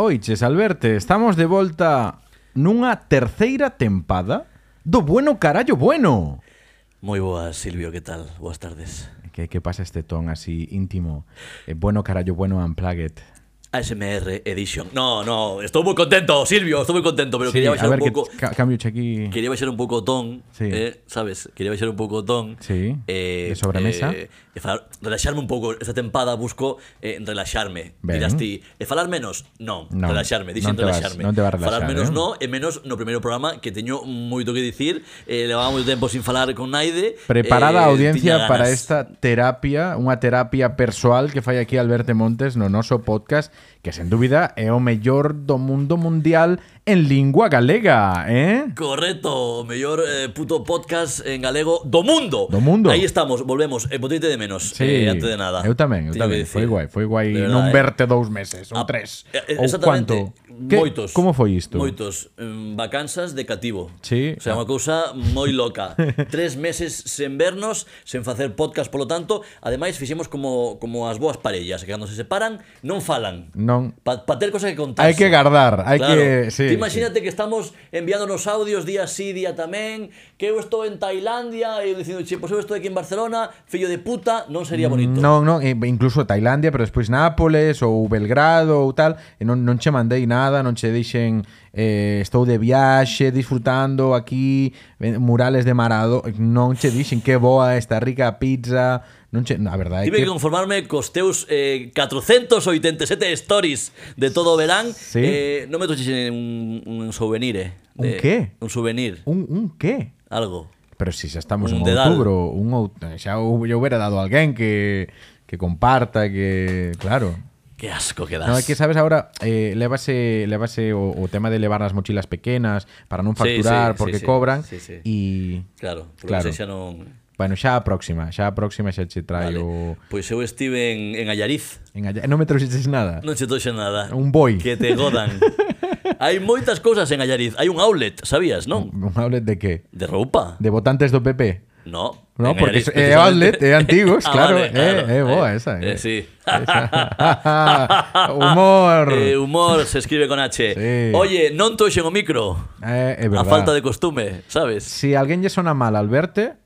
Oiches, Alberte, estamos de volta nunha terceira tempada do Bueno Carallo Bueno. Moi boas, Silvio, que tal? Boas tardes. Que, que pasa este ton así íntimo? Eh, bueno Carallo Bueno Unplugged. ASMR Edition. No, no, estou moi contento, Silvio, estou moi contento, pero Sí, quería a baixar ver, un que pouco... eh, ca cambio aquí... Quería baixar un pouco o ton, Sí. eh, sabes? Quería baixar un pouco o ton. Sí, de sobremesa. Eh, e falar, relaxarme un pouco. Esta tempada busco eh, relaxarme. Ben. Dirás ti, e falar menos? Non, Non, non relaxarme, dixen te vas- relaxarme. non te vas a relaxar, falar menos eh? no, e menos no primeiro programa que teño moito que dicir. Eh, levaba moito tempo sin falar con Naide. Preparada a eh, audiencia tiña para este ganas. esta terapia, unha terapia persoal que fai aquí Alberto Montes no noso podcast, que sen dúbida é o mellor do mundo mundial en lingua galega, eh? Correcto, o mellor eh, puto podcast en galego do mundo. Do mundo. Aí estamos, volvemos, e botite de menos, Sí, eh, antes de nada. Eu tamén, eu Teño tamén. que Foi dicir. guai, foi guai De verdade, non eh. verte dous meses, ou Ah, tres. eh, ou exactamente, cuánto. Que- moitos. Como foi isto? Moitos. Mm, Vacanzas de cativo. Sí. O sea, Ah. unha cousa moi loca. Tres meses sen vernos, sen facer podcast, polo tanto, ademais fixemos como como as boas parellas, que cando se separan non falan. Non. Pa, pa ter cosas que contar. Hai que guardar, hai que... Sí, Tú imagínate que estamos enviándonos audios día sí, día tamén, que eu estou en Tailandia e eu dicindo, che, pois eu estou aquí en Barcelona, fillo de puta, non sería bonito. Non, non, e incluso Tailandia, pero despois Nápoles ou Belgrado ou tal, e non, non che mandei nada, non che deixen eh, estou de viaxe, disfrutando aquí, eh, murales de Marado, non che dixen que boa esta rica pizza, non che, na verdade é Tive que que conformarme cos teus eh, 487 stories de todo o verán. Sí. Eh, non me toxen un, un souvenir, eh. Un de- qué? Un souvenir, un, un que? algo. Pero si xa estamos Un en dedal. outubro, un out- xa hou- lle hubiera dado a alguén que que comparta, que claro. Que asco que das. No, é que sabes ahora eh, levase levase o, o tema de levar as mochilas pequenas para non Sí, sí, facturar sí, porque sí. cobran Sí, sí. e Claro, porque Claro. claro. xa non... bueno, xa a próxima, xa a próxima xa che Vale. traio Pois eu estive en, en Allariz. en allá. non me trouxeches nada. Non che toxen nada. Un boi. Que te godan. Hai moitas cousas en Allariz. Hai un outlet, sabías, non? Un outlet de que? De roupa. De votantes do PP. No. No, en porque Allariz, é precisamente. outlet, é antigos, Ah, claro, vale, é, é boa esa. Eh, sí. Humor. Eh, humor se escribe con H. Sí. Oye, non toxen o micro. Eh, é A verdad. falta de costume, sabes? Si alguén lle sona mal al verte,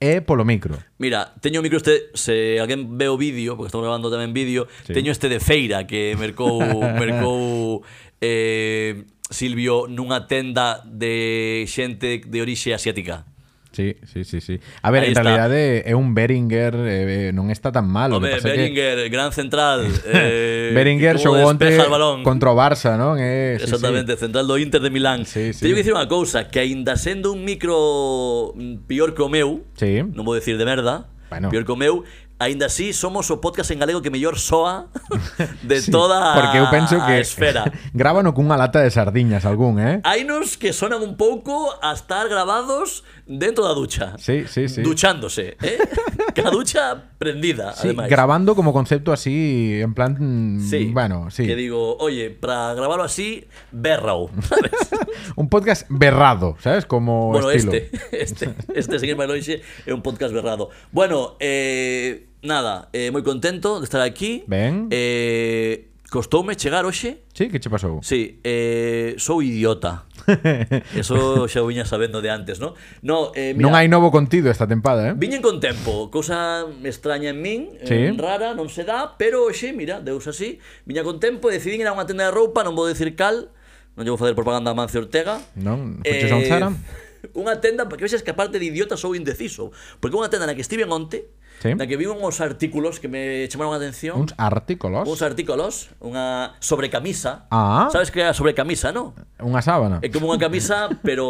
é polo micro. Mira, teño o micro este, se alguén ve o vídeo, porque estamos grabando tamén vídeo, Sí. teño este de feira que mercou mercou eh, Silvio nunha tenda de xente de orixe asiática. Sí, sí, sí, sí. A ver, Ahí en está. realidade é un Beringer, eh, non está tan mal. o que Home, pasa é que Beringer, gran central. Eh, Beringer como xogou onte despeja el balón. contra o Barça, non? É, sí, Exactamente, central do Inter de Milán. Sí, sí. Teño que dicir unha cousa, que aínda sendo un micro mm, pior que o meu, Sí. non vou dicir de merda, Bueno. pior que o meu, aínda así somos o podcast en galego que mellor soa de Sí, toda Porque eu penso a que esfera. Ah, grábano cunha lata de sardiñas algún, eh? Hai nos que sonan un pouco a estar grabados dentro da ducha. Sí, sí, sí. Duchándose, eh? Ca ducha prendida, Sí, ademais. grabando como concepto así, en plan, mm, Sí. bueno, sí. Que digo, oye, para grabarlo así, berrao, ¿sabes? Un podcast berrado, ¿sabes? Como bueno, estilo. este, este, este seguir máis lonxe é un podcast berrado. Bueno, eh, nada, eh, moi contento de estar aquí. Ben. Eh, costoume chegar hoxe. Sí, que che pasou? Sí, eh, sou idiota. Eso xa o viña sabendo de antes, ¿no? No, eh, mira, non hai novo contido esta tempada, eh? Viñen con tempo, cousa extraña en min, Sí. sí. rara, non se dá, pero hoxe, mira, deus así, viña con tempo e decidín ir a unha tenda de roupa, non vou decir cal, non llevo facer propaganda a Mancio Ortega. Pois Eh, Non, foches a un Zara? Unha tenda, para que vexas que aparte de idiota sou indeciso, porque unha tenda na que estive onte, Sí. na que vi uns artículos que me chamaron a atención, Uns artículos, uns artículos, unha sobrecamisa, Ah. sabes que é a sobrecamisa, non? unha sábana, É como unha camisa, pero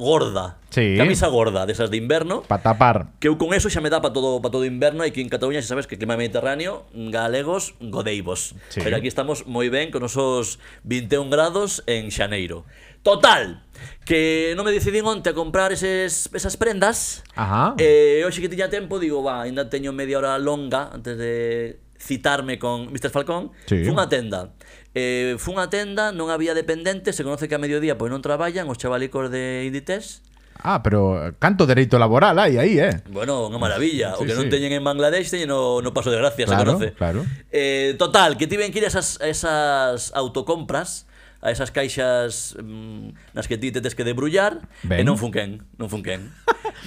gorda. Sí. Camisa gorda, desas de inverno. para tapar. Que eu con eso xa me dá para todo para todo inverno e que en Cataluña xa sabes que clima mediterráneo, galegos, godeivos. Sí. Pero aquí estamos moi ben con nosos 21 grados en Xaneiro. Total, que non me decidín onte a comprar eses, esas prendas. Ajá. E hoxe que tiña tempo, digo, va, ainda teño media hora longa antes de citarme con Mr. Falcón. Sí. Fun a tenda. Eh, fun a tenda, non había dependentes, se conoce que a mediodía pois non traballan os chavalicos de Inditex. Ah, pero canto dereito laboral hai aí, eh. Bueno, unha maravilla. o Sí, que non sí. teñen en Bangladesh teñen no, no paso de gracia, se Claro, conoce. claro. Eh, total, que tiven que ir a esas, a esas autocompras, a esas caixas mm, nas que ti te tes que debrullar, Ben. e non funquen, non funquen.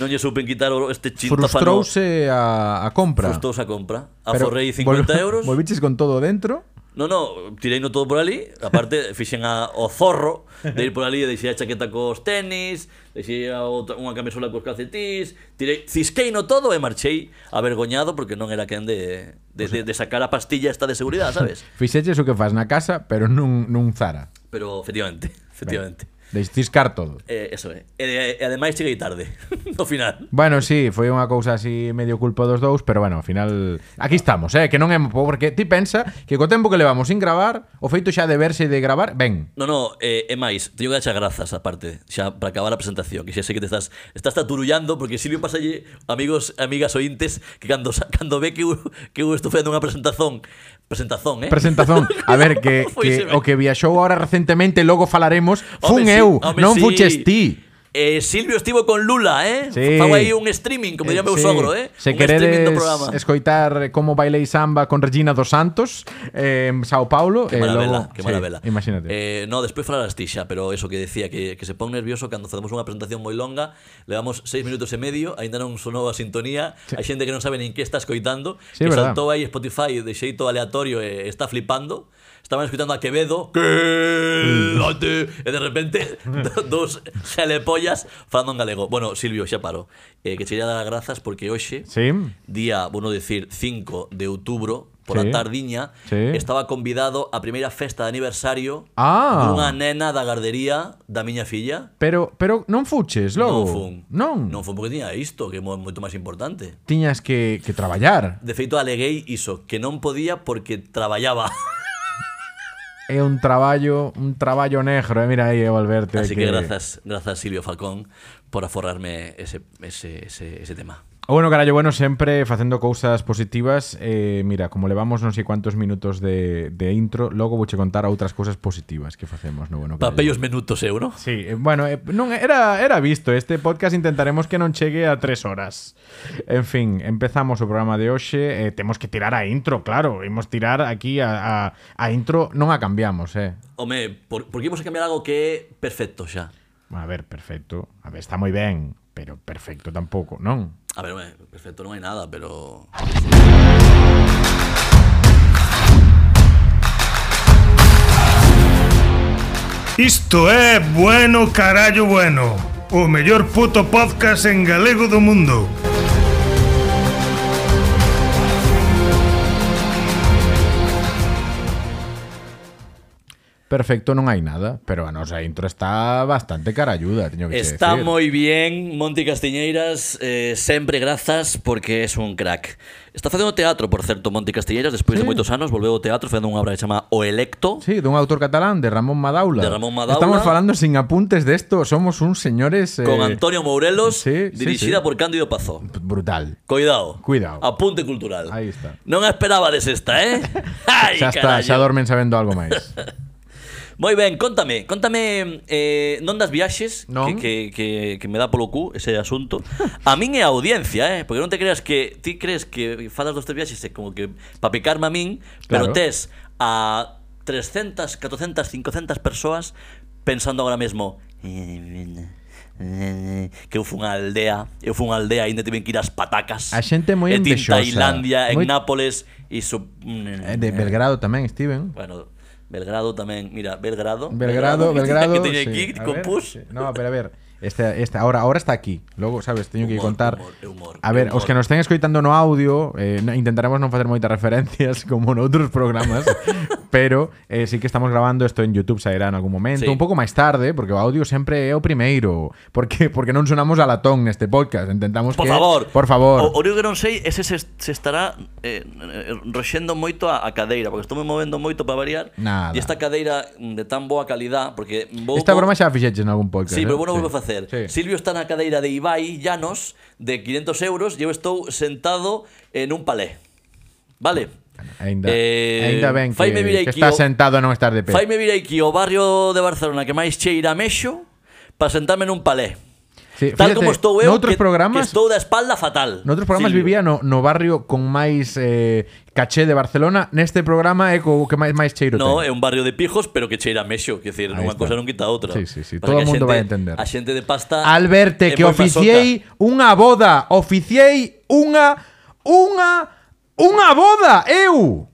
non lle supen quitar o- este chintáfano. Frustrouse a, a compra. Frustrouse a compra. Pero Aforrei 50 vol- euros. Volviches con todo dentro. No, no, tirei no todo por ali Aparte, fixen a, o zorro De ir por ali, deixei a chaqueta cos tenis Deixei a outra, unha camisola cos calcetís Tirei, cisquei no todo e marchei Avergoñado porque non era quen de, de, de, de sacar a pastilla esta de seguridade, sabes? Fixeches o que faz na casa, pero nun, nun Zara. Pero, efectivamente, efectivamente Destiscar todo. eh, Eso é E, e ademais cheguei tarde No final Bueno, sí, foi unha cousa así medio culpa dos dous, pero bueno, ao final aquí estamos, eh, que non é mo- porque ti pensa que co tempo que levamos sin gravar, o feito xa de verse e de gravar, ben, No, no, eh, e máis, teño que dar xa grazas aparte, xa para acabar a presentación, que xa sei que te estás estás taturullando porque Silvio pasalle amigos, amigas ointes, que cando sa- cando ve que eu, que eu estou facendo unha presentazón, presentazón, eh? presentazón. A ver que, Foise que ben. o que viaxou ahora recentemente, logo falaremos, fun Home, sí, eu, home, non sí. fuches ti. Eh, Silvio estivo con Lula, eh? Sí. Fago aí un streaming, como Eh, diría meu sí. sogro, eh? Se un streaming queredes do programa. escoitar como bailei samba con Regina dos Santos eh, en Sao Paulo, Que eh, mala vela, logo- que sí, mala vela. Imagínate. Eh, no, despois falarás ti xa, pero eso que decía que, que se pon nervioso cando facemos unha presentación moi longa, levamos seis minutos e medio, aínda non sonou a sintonía, hai xente que non sabe nin que está escoitando, Sí, que verdad. saltou aí Spotify de xeito aleatorio e está flipando. Estaban escoitando a Quevedo, Mm. quédate, e de repente do- dos xalepollas falando en galego. Bueno, Silvio, xa paro. Eh, que che ia dar as grazas porque hoxe sí. día, bueno decir, 5 de outubro, por Sí. a tardiña, Sí. estaba convidado á primeira festa de aniversario Ah. dunha nena da gardería da miña filla. Pero pero non fuches logo. Non fun. Non. Non fun porque tiña isto, que é mo- moito máis importante. Tiñas que, que traballar. De feito, aleguei iso, que non podía porque traballaba. É un traballo, un traballo negro, eh? mira aí eh, Valverte. Así que grazas, grazas Silvio Falcón por aforrarme ese, ese, ese, ese tema. O bueno, carallo, bueno, sempre facendo cousas positivas eh, Mira, como levamos non sei cuantos minutos de, de intro Logo vouche contar outras cousas positivas que facemos no bueno, carallo. Papellos minutos, eu, non? Sí, eh, bueno, eh, non era, era visto Este podcast intentaremos que non chegue a tres horas En fin, empezamos o programa de hoxe eh, Temos que tirar a intro, claro Imos tirar aquí a, a, a intro Non a cambiamos, eh Home, por, por que imos a cambiar algo que é perfecto xa? A ver, perfecto. A ver, está moi ben, pero perfecto tampouco, non? A ver, home, perfecto non hai nada, pero... Isto é Bueno Carallo Bueno O mellor puto podcast en galego do mundo Perfecto non hai nada, pero a nosa intro está bastante carayuda, teño Pues que che Está decir. moi bien, Monti Castiñeiras, eh, sempre grazas porque es un crack. Está facendo teatro, por certo, Monti Castiñeiras, Sí. despois de moitos anos, volveu ao teatro facendo unha obra que se chama O Electo. Sí, dun autor catalán, de Ramón Madaula. De Ramón Madaula. Estamos falando sin apuntes desto, somos uns señores... eh, Con Antonio Mourelos, Sí, sí, dirixida sí. por Cándido Pazó. Brutal. Cuidado. Cuidado. Apunte cultural. Aí está. Non a esperabades esta, eh? Ai, xa está, carallo. xa dormen sabendo algo máis. Moi ben, contame, contame eh, non das viaxes Non. Que, que, que, que me dá polo cu ese asunto A min é a audiencia, eh, porque non te creas que Ti crees que falas dos tres viaxes é como que para picarme a min Claro. Pero tes a 300, 400, 500 persoas Pensando agora mesmo Que eu fun a aldea Eu fun a aldea e ainda tiven que ir ás patacas A xente moi E ti en envexosa, Tailandia, en moi- Nápoles Iso Eh, de Belgrado tamén, Steven. Bueno, Belgrado tamén, mira, Belgrado. Belgrado, que Belgrado. teña- Que teña sí. aquí, A con ver, pus. sí. No, pero a ver, esta, esta, ahora, ahora está aquí. Logo, sabes, teño que Humor, contar. humor, é humor, a ver, é humor. os que nos estén escoitando no audio, eh, na- intentaremos non facer moitas referencias como noutros programas, pero eh, sí que estamos grabando isto en YouTube, sairá en algún momento, Sí. un pouco máis tarde, porque o audio sempre é o primeiro, porque porque non sonamos a latón neste este podcast, intentamos Por que favor. Por favor. O, o único que non sei é se se, se estará eh, eh, roxendo moito a, a cadeira, porque estou me movendo moito para variar. Nada. E esta cadeira mm, de tan boa calidad, porque vou Esta vou- broma xa a fixeches en algún podcast. Sí, pero eh? bueno, vuelvo a facer. Sí. Silvio está na cadeira de Ibai Llanos de 500 euros e eu estou sentado en un palé. Vale? Ainda, Eh, ainda ben que, faime vir que aquí estás o- sentado e non estás de pé. Faime vir aquí ao barrio de Barcelona que máis cheira a mexo para sentarme nun palé. Sí, Tal fíjate, como estou eu, noutros que, programas- que estou da espalda fatal. Noutros programas Silvio. vivía no, no barrio con máis eh, caché de Barcelona Neste programa é co que máis, máis cheiro No, é ten. un barrio de pijos, pero que cheira a mexo, que decir, Ahí unha está. cosa non quita a outra. Sí, sí, sí, Pasa todo o que a mundo xente- vai entender. A xente de pasta Alberte, é que moi masoca. oficiei unha boda Oficiei unha Unha Unha boda, eu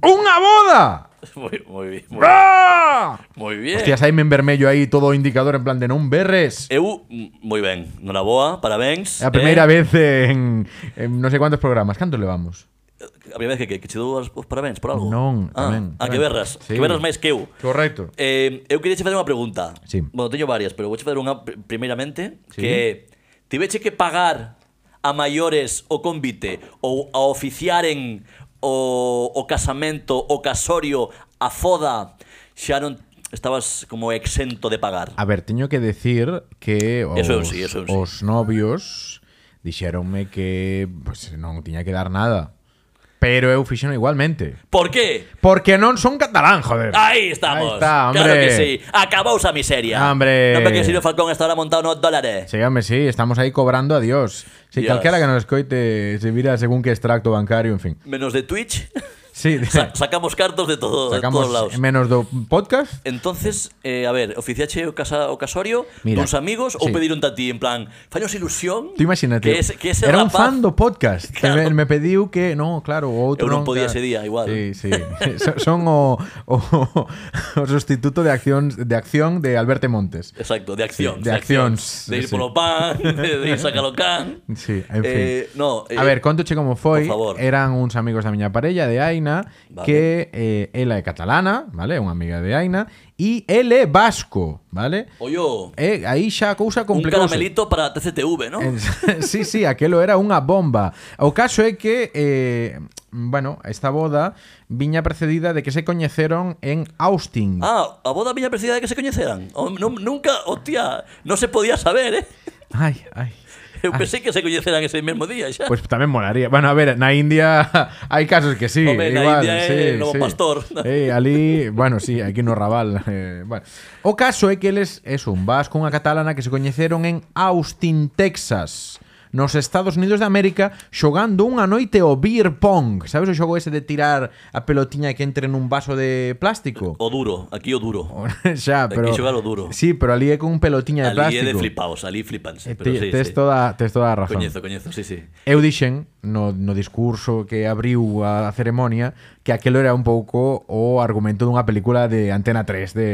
Unha boda Moi, moi, bien, moi, ah! moi bien. Hostias, aí en vermello aí todo o indicador en plan de non berres Eu, mm, moi ben, enhoraboa, parabéns. É a primeira eh. vez en, en non sei quantos programas Cantos levamos? A primeira vez que, que, que che dou os os parabéns por algo. Non, ah, tamén, Ah, que tamén. berras, Sí. que berras máis que eu. Correcto Eh, eu queria che facer unha pregunta. Sí. Bueno, teño varias, pero vou che facer unha pr- primeiramente Sí. que tiveche que pagar a maiores o convite ou a oficiaren o, o casamento, o casorio, a foda, xa non estabas como exento de pagar. A ver, teño que decir que os, Eso eu sí, eso eu sí. os novios dixéronme que pues, non tiña que dar nada. Pero eu fixeno igualmente. Por qué? Porque non son catalán, joder. Aí Ahí estamos. está, hombre. Claro que sí. Acabouse a miseria. Hombre. Non ve que Sirio Falcón está ahora montado nos dólares. Sígame, sí, estamos aí cobrando a Dios. Si Dios. calquera que nos escoite se vira según que extracto bancario, en fin. Menos de Twitch, Sí, sa- sacamos cartos de, todo, de sacamos todos lados. menos do podcast. Entonces, eh, a ver, oficiache o, casa, o casorio Mira, duns amigos sí. ou pediron a ti en plan, faños ilusión? Tú imagínate. Que ese, que ese era un rapaz, fan do podcast. Claro. E Me, me pediu que, no, claro, o outro Eu non, non podía claro. ese día, igual. Sí, sí. So- Son o, o, o sustituto de acción de acción de Alberto Montes. Exacto, de acción. Sí, de accións, De ir sí. polo pan, de, de ir sacar o can. Sí, en fin. Eh, no, eh, A ver, contoche como foi, por favor. eran uns amigos da miña parella de Aina Vale. que eh, ela é catalana, vale? É unha amiga de Aina e el é vasco, vale? Ollo, E aí xa a cousa un complicouse. caramelito para TCTV, ¿no? En- sí, sí, aquelo era unha bomba. O caso é que eh, bueno, esta boda viña precedida de que se coñeceron en Austin. Ah, a boda miña presidida de que se coñeceran. O, non- nunca, hostia, non se podía saber, eh? Ai, ai. Eu Ai. pensei que se coñeceran ese mesmo día Ah. xa. Pues tamén molaría. Bueno, a ver, na India hai casos que sí, Home, na igual, India é sí, Lobo sí. Pastor. Eh, ali, bueno, sí, aquí no Raval. Eh, bueno. O caso é que eles es un vasco, unha catalana que se coñeceron en Austin, Texas. Nos Estados Unidos de América xogando unha noite o beer pong Sabes o xogo ese de tirar a pelotiña que entre nun vaso de plástico? O duro, aquí o duro. Xa, Hai pero que xogar o duro. Sí, pero ali é con pelotiña de Ali é plástico de flipaos, ali Eh, flipanse. Pero ti- sí, tes sí. toda, tes toda a razón Coñezo, coñezo, sí, sí. Eu dixen no, no discurso que abriu a ceremonia que aquilo era un pouco o argumento dunha película de Antena 3 de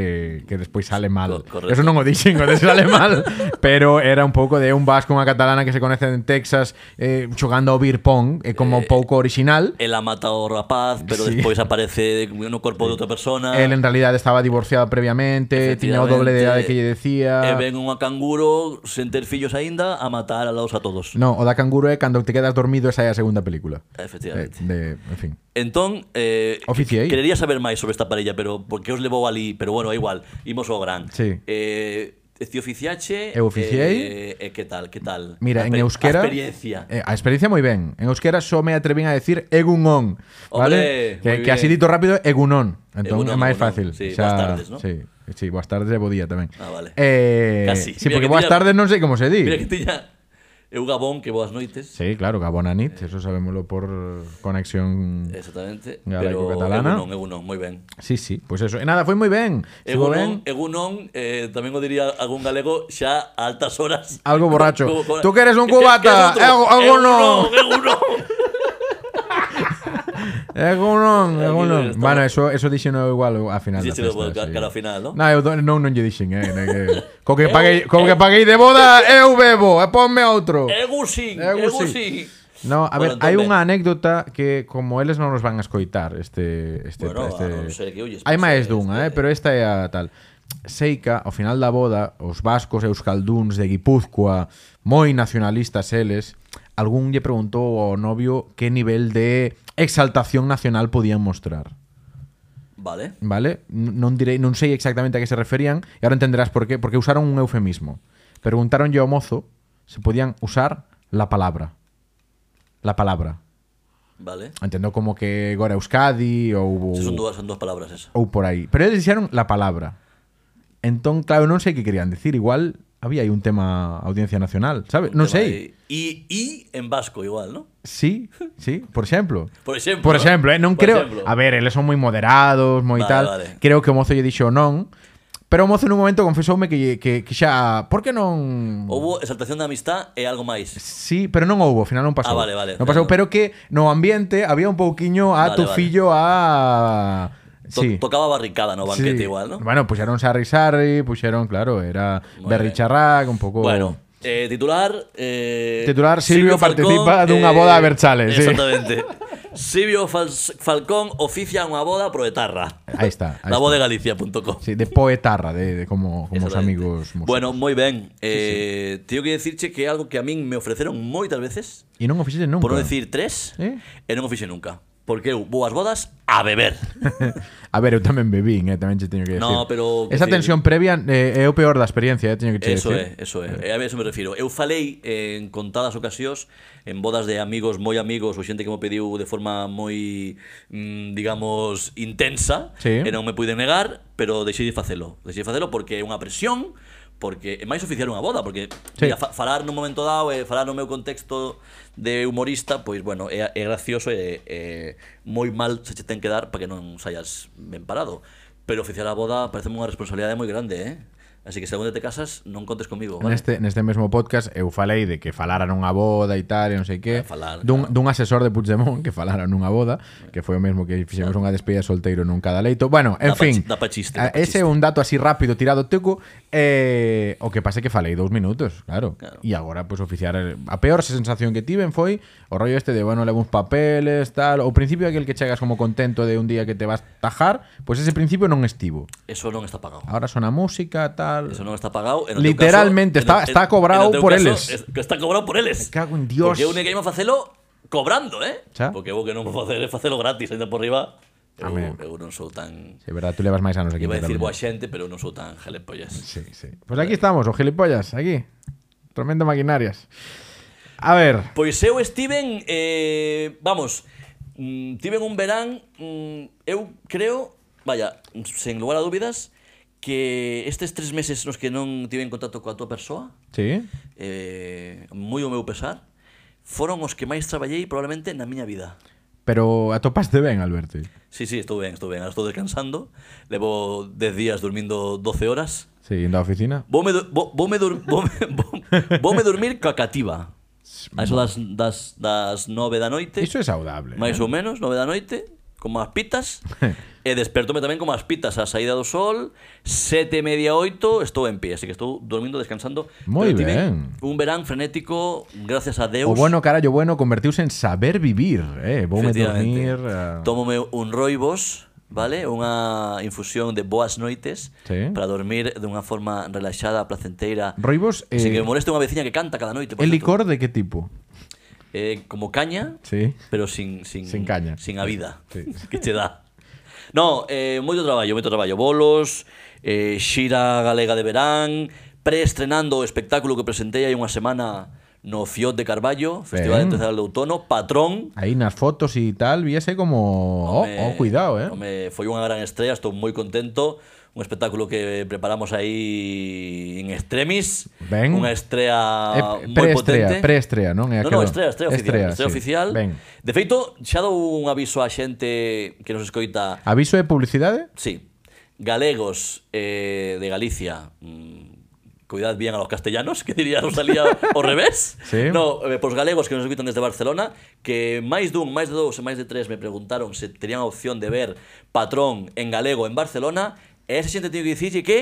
que despois sale mal. Co- correcto. Eso non o dixen, o de sale mal, pero era un pouco de un vasco, unha catalana que se conecen en Texas eh, xogando ao beer pong, eh, como pouco original. El ha matado ao rapaz, pero Sí. despois aparece no corpo de outra persona. Él en realidad estaba divorciado previamente, tiña o doble de edade que lle E decía. ven unha canguro sen ter fillos aínda a matar a laos a todos. No, o da canguro é cando te quedas dormido esa é a segunda película. Eh, Efectivamente. de, en fin. Entón, eh, Oficiei. querería saber máis sobre esta parella, pero porque os levou ali, pero bueno, é igual, imos ao gran. Sí. Eh, este oficiache... Eu oficiei. Eh, eh, que tal, que tal? Mira, A en pe- euskera A experiencia. Eh, a experiencia moi ben. En euskera só me atrevín a decir egunon, Hombre, vale? moi que, que así ben. dito rápido egunon. Entón é Egunon, máis egunon. fácil. O Sí, sea, boas tardes, ¿no? Sí, sí, boas tardes e bo día tamén. Ah, vale. Eh, Casi. Sí, Mira porque que boas tiña- tardes non sei como se di. Mira que tiña... Eu Gabón, que boas noites. Sí, claro, Eh. Gabonanit, eso sabémoslo por conexión. Exactamente. Galaico pero catalana. Egunon, Egunon, moi ben. Sí, sí, pois pues eso. E nada, foi moi ben. Estuvo ben. Egunon, Egunon, eh, tamén o diría algún galego xa a altas horas. Algo borracho. Como- como- Tú que eres un ¿Qué- qué- cubata. qué eres tú? Egu- Egunon. Egunon. Egunon, egunon. estamos- Bueno, eso eso dixen eu igual ao- a final da Díxelo, festa, ca- cara ao final, ¿no? Non, eu do- non, non lle dixen, eh, na que- co que paguei, co eh. que paguei de boda, eu bebo, e ponme outro. Egusin, Egusin. Egusin. No, a ver, Eh. Bueno, hai entón, unha ben. anécdota que como eles non nos van a escoitar este este Bueno, a este. non ser que olles, hai pois, máis este- dunha, eh, pero esta é a tal. Seica, ao final da boda, os vascos e euskalduns de Guipúzcoa, moi nacionalistas eles, algún lle preguntou ao novio que nivel de exaltación nacional podían mostrar. Vale. Vale? N- Non direi, non sei exactamente a que se referían e agora entenderás por qué, porque usaron un eufemismo. Preguntáronlle ao mozo se podían usar la palabra. La palabra. Vale. Entendo como que agora Euskadi ou Se son dúas, son dúas palabras esa. ou por aí. Pero eles dixeron la palabra. Entón, claro, non sei que querían decir, igual había aí un tema audiencia nacional, sabes? No Non sei. E e en vasco igual, ¿no? Sí, sí, por exemplo. Por exemplo. Por exemplo, eh, non Por creo, exemplo. a ver, eles son moi moderados, moi Vale, tal. vale. Creo que o mozo lle dixo non, pero o mozo nun momento confesoume que que, que xa, por que non Houbo exaltación da amistad e algo máis. Sí, pero non houbo, ao final non pasou. Ah, vale, vale, Non pasou, claro. pero que no ambiente había un pouquiño a Vale, tu vale. fillo a To- Sí. Tocaba barricada no banquete sí. igual, ¿no? Bueno, pusieron Sarri Sarri, pusieron, claro, era Muy Berry bien. Charrac, un poco. Bueno, eh, titular. eh, Pues Titular, Silvio participa dunha boda a Berchales, sí. Exactamente. Silvio Fal- Falcón oficia unha boda pro etarra. Ahí está. ahí La voz está. de Galicia.com. Sí, de poetarra, de, de como, como os Exactamente. amigos. músicos. Bueno, moi ben. Eh, Tengo que dicirche que é algo que a min me ofreceron moitas veces, y no oficiales nunca. por non decir tres, Eh? e non o fixe nunca. Porque eu vou ás bodas a beber. a ver, yo también bebí, eh, también te tengo que decir. No, pero, Esa que tensión previa eh, é o peor da experiencia, eh, teño que che Eso decir. é, eso é. E A ver, eso me refiro. Eu falei en contadas ocasións en bodas de amigos moi amigos ou xente que me pediu de forma moi, mm, digamos, intensa Sí. e non me puiden negar, pero deixei de facelo. Deixei de facelo porque é unha presión, porque é máis oficial unha boda, porque Sí. mira, fa- falar nun momento dado e falar no meu contexto de humorista, pois bueno, é, é gracioso e, e moi mal se che ten que dar para que non saias ben parado. Pero oficiar a boda parece unha responsabilidade moi grande, eh? Así que se algún día te casas, non contes comigo, vale? Neste, neste mesmo podcast eu falei de que falara nunha boda e tal, e non sei que, Ah, falar, dun, dun asesor de Puigdemont que falara nunha boda, que foi o mesmo que fixemos unha despedida de solteiro nun cada leito. Bueno, en Da pa- fin, da pa chiste, a- da pa ese é chiste. un dato así rápido tirado teco, eh, o que pase que falei dous minutos, claro. Claro. E agora, pois, oficiar, a peor sensación que tiven foi o rollo este de, bueno, levo uns papeles, tal, o principio aquel que chegas como contento de un día que te vas tajar, pois ese principio non estivo. Eso non está pagado. Ahora sona música, tal... Eso non está pagado. e no teu Literalmente, está- caso- está cobrado no teu por caso, eles. es- que Está cobrado por eles. Me cago en Dios. Porque eu neguei a facelo cobrando, eh? Xa. Porque eu o que non vou facer é facelo gratis, ainda por riba. Eu, Amén. eu non sou tan... Sí, é verdad, tú levas máis anos aquí. Iba a en decir Cataluña. boa xente, pero eu non sou tan gelepollas. Sí, sí. Pues aquí estamos, o gilipollas, aquí. Tremendo maquinarias. A ver, Pois eu estiven, eh, vamos, mm, tiven un verán, mm, eu creo, vaya, sen lugar a dúbidas, que estes tres meses nos que non tiven contacto coa tua persoa, sí. eh, moi o meu pesar, foron os que máis traballei probablemente na miña vida. Pero atopaste ben, Alberto. Sí, sí, estou ben, estou ben, ahora estou descansando, levo 10 días durmindo 12 horas. Sí, en la oficina. Voume, du vou, voume, dur voume, vou- voume dormir coa cativa. A eso das, das, das 9 da noite, Iso é saudable. máis eh? ou menos, 9 da noite, como as pitas, e despertome tamén como as pitas, a saída do sol, sete e media, oito, estou en pie, así que estou dormindo, descansando. Moi ben. Pero tiven Un verán frenético, gracias a Deus. O bueno, carallo bueno, convertiuse en saber vivir, eh. Voume Efectivamente. dormir... eh, Tómome un roibos, vale? Unha infusión de boas noites Sí. para dormir dunha forma relaxada, placenteira. Roibos, eh, Sin que me moleste unha veciña que canta cada noite. por el certo. licor de qué tipo? Eh, como caña, Sí. pero sin, sin, Sin caña. Sin a vida Sí. que che dá. No, eh, moito traballo, moito traballo. Bolos, eh, xira galega de verán, preestrenando o espectáculo que presentei hai unha semana no Fiot de Carballo, Festival Ben. de Terceira de Outono, Patrón, Aí nas fotos e tal, víase como... Oh, oh, cuidado, eh. Home, foi unha gran estrella, estou moi contento. Un espectáculo que preparamos aí en extremis. Ben. Unha estrella Eh, moi preestrea, ah, potente. preestrea, non? É No, no, aquela- estrella, estrella oficial. estrella, Estrella, sí. oficial. Ben. De feito, xa dou un aviso á xente que nos escoita. Aviso de publicidade? Sí, galegos eh, de Galicia, mm, cuidad bien a los castellanos, que diría Rosalía ao revés. Sí. No, eh, pois galegos que nos escutan desde Barcelona, que máis dun, máis de dous e máis de tres me preguntaron se tenían a opción de ver Patrón en galego en Barcelona, e esa xente teño que dicirlle que,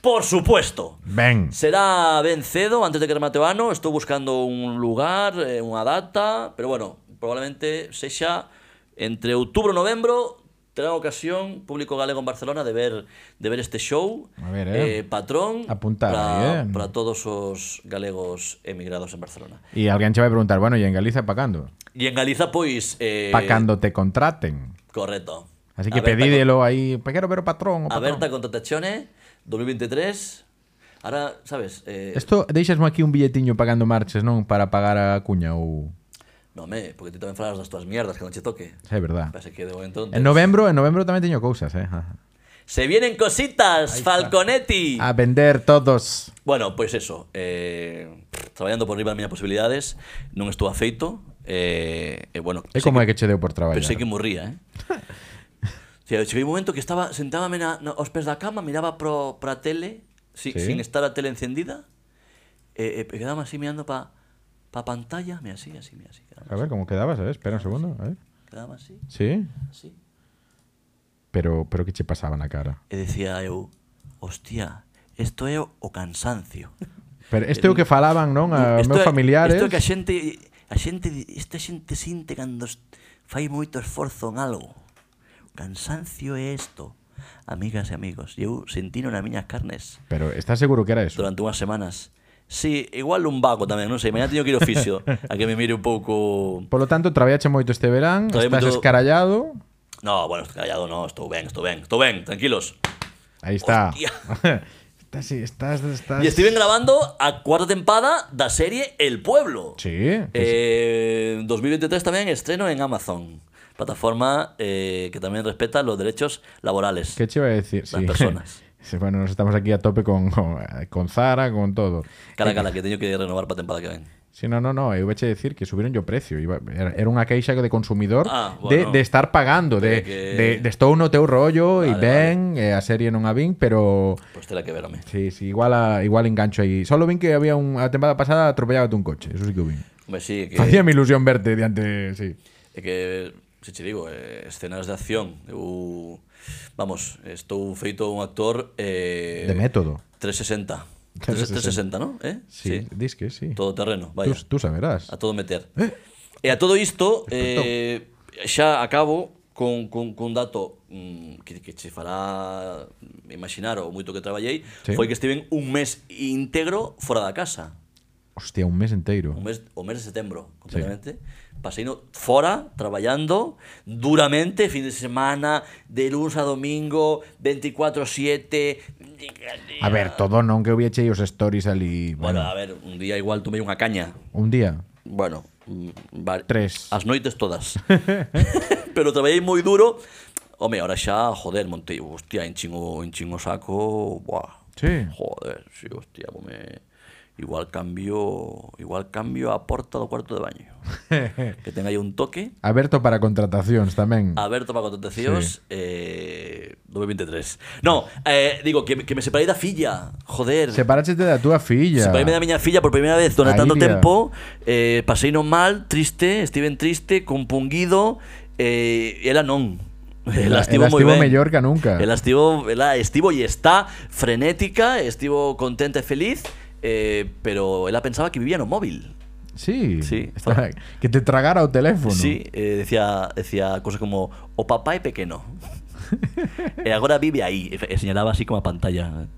por supuesto, Ben. Será ben cedo, antes de que remate o ano Estou buscando un lugar, eh, unha data Pero bueno, probablemente sexa Entre outubro e novembro Terá ocasión, público galego en Barcelona De ver, de ver este show A ver, eh. Patrón Apuntar para, aí, eh. para todos os galegos emigrados en Barcelona E alguén che vai preguntar, bueno, e en Galiza pa cando? E en Galiza, pois eh, Pa cando te contraten. Correcto Así que Aberta pedídelo aí, pa quero ver o patrón, o con- patrón. Aberta contratazione 2023 Ahora, sabes eh, Esto deixasmo aquí un billetiño pagando marches, non? Para pagar a cuña ou... No, me, porque ti tamén falas das túas mierdas que non che toque É verdad. Pasa que de momento non En tes- novembro, en novembro tamén teño cousas, eh. Ajá. Se vienen cositas, Falconetti. A vender todos. Bueno, pois eso eh, Traballando por riba das miñas posibilidades Non estou afeito eh, E bueno, É como é que che deu por traballar. pensei que morría eh? Sí, cheguei un momento que estaba Sentábame na, na, aos pés da cama Miraba pro, pra tele si, Sí. sí. Sin estar a tele encendida E eh, eh, quedaba así mirando pa Pa pantalla Me así, así, me así Quedaba, A ver, ¿cómo quedabas? A ver, espera un segundo. A ver. quedaba así, Sí. así Pero, pero que che pasaba na cara? E decía eu Hostia, isto é o o cansancio Pero este é o que falaban, non? A Isto meus Eh, é- familiares. Isto é que a xente, a xente, esta xente sinte cando es- fai moito esforzo en algo. O cansancio é isto, amigas e amigos. Eu sentino nas miñas carnes Pero estás seguro que era eso? durante unhas semanas. Sí, igual un vago tamén, non sei, mañá teño que ir ao fisio a que me mire un pouco... Por lo tanto, traballache moito este verán, Traballei estás moito- escarallado. No, bueno, estou callado, no, estou ben, estou ben, estou ben, tranquilos. Aí está. Hostia. estás, estás, estás... E estive grabando a cuarta tempada da serie El Pueblo. Sí. que Eh, 2023 tamén estreno en Amazon, plataforma eh, que tamén respeta los derechos laborales. ¿Qué te iba a decir? Las personas. Sí, bueno, nos estamos aquí a tope con, con, con Zara, con todo. Cala, cala, que teño que renovar para temporada que ven. Sí, no, no, no, eu veche decir que subiron yo precio. Iba, era, era unha queixa de consumidor Ah, bueno. de, de estar pagando, de, Pero que- de, de estou no teu rollo e Vale, ben, eh, a serie non a vin, pero Pues tela que ver, home. sí, sí, igual a, igual engancho aí. Solo vin que había un, a temporada pasada atropellábate un coche, eso sí que o vin. Home, sí, que, Facía mi ilusión verte diante, sí. é que se che digo, eh, escenas de acción. Eu, vamos, estou feito un actor... Eh, De método. 360. 360. 360, ¿no? Eh? Sí, dis que sí. Todo terreno, vaya. Tú, tú saberás. A todo meter. E a todo isto, eh, xa acabo con, con, con dato mm, que, que che fará imaginar o moito que traballei, Sí. sí. foi que estiven un mes íntegro fora da casa. Hostia, un mes enteiro. O mes, o mes de setembro, completamente. Sí. Paseino fora, traballando, duramente, fin de semana, de lunes a domingo, 24-7... A ver, todo non que hubieche os stories ali, bueno, Bueno, a ver, un día igual tomei unha caña, un día. Bueno, mm, va- Tres. As noites todas. Pero traballei moi duro. Home, ahora xa, joder, montei, hostia, enchín o, enchín o saco, buah. Sí. Joder, sí, hostia, home. Igual cambio, igual cambio a porta do cuarto de baño. que tenga aí un toque. Aberto para contratacións tamén. Aberto para contratacións eh, 2023. No, eh, digo, que, que me separei da filla, joder. Separaste da túa filla. Separei da miña filla por primeira vez durante A tanto Iria. tempo eh, Pasei non mal, triste, estiven triste, compunguido eh, Ela non Ela- Ela estivo ela moi estivo ben mellor que nunca. Ela estivo, ela estivo e está frenética, estivo contenta e feliz eh, Pero ela pensaba que vivía no móvil Sí. Sí. Está- que te tragara o teléfono. Sí, eh, decía, decía cosas como O papá é pequeno E agora vive aí E, fe- e señalaba así como a pantalla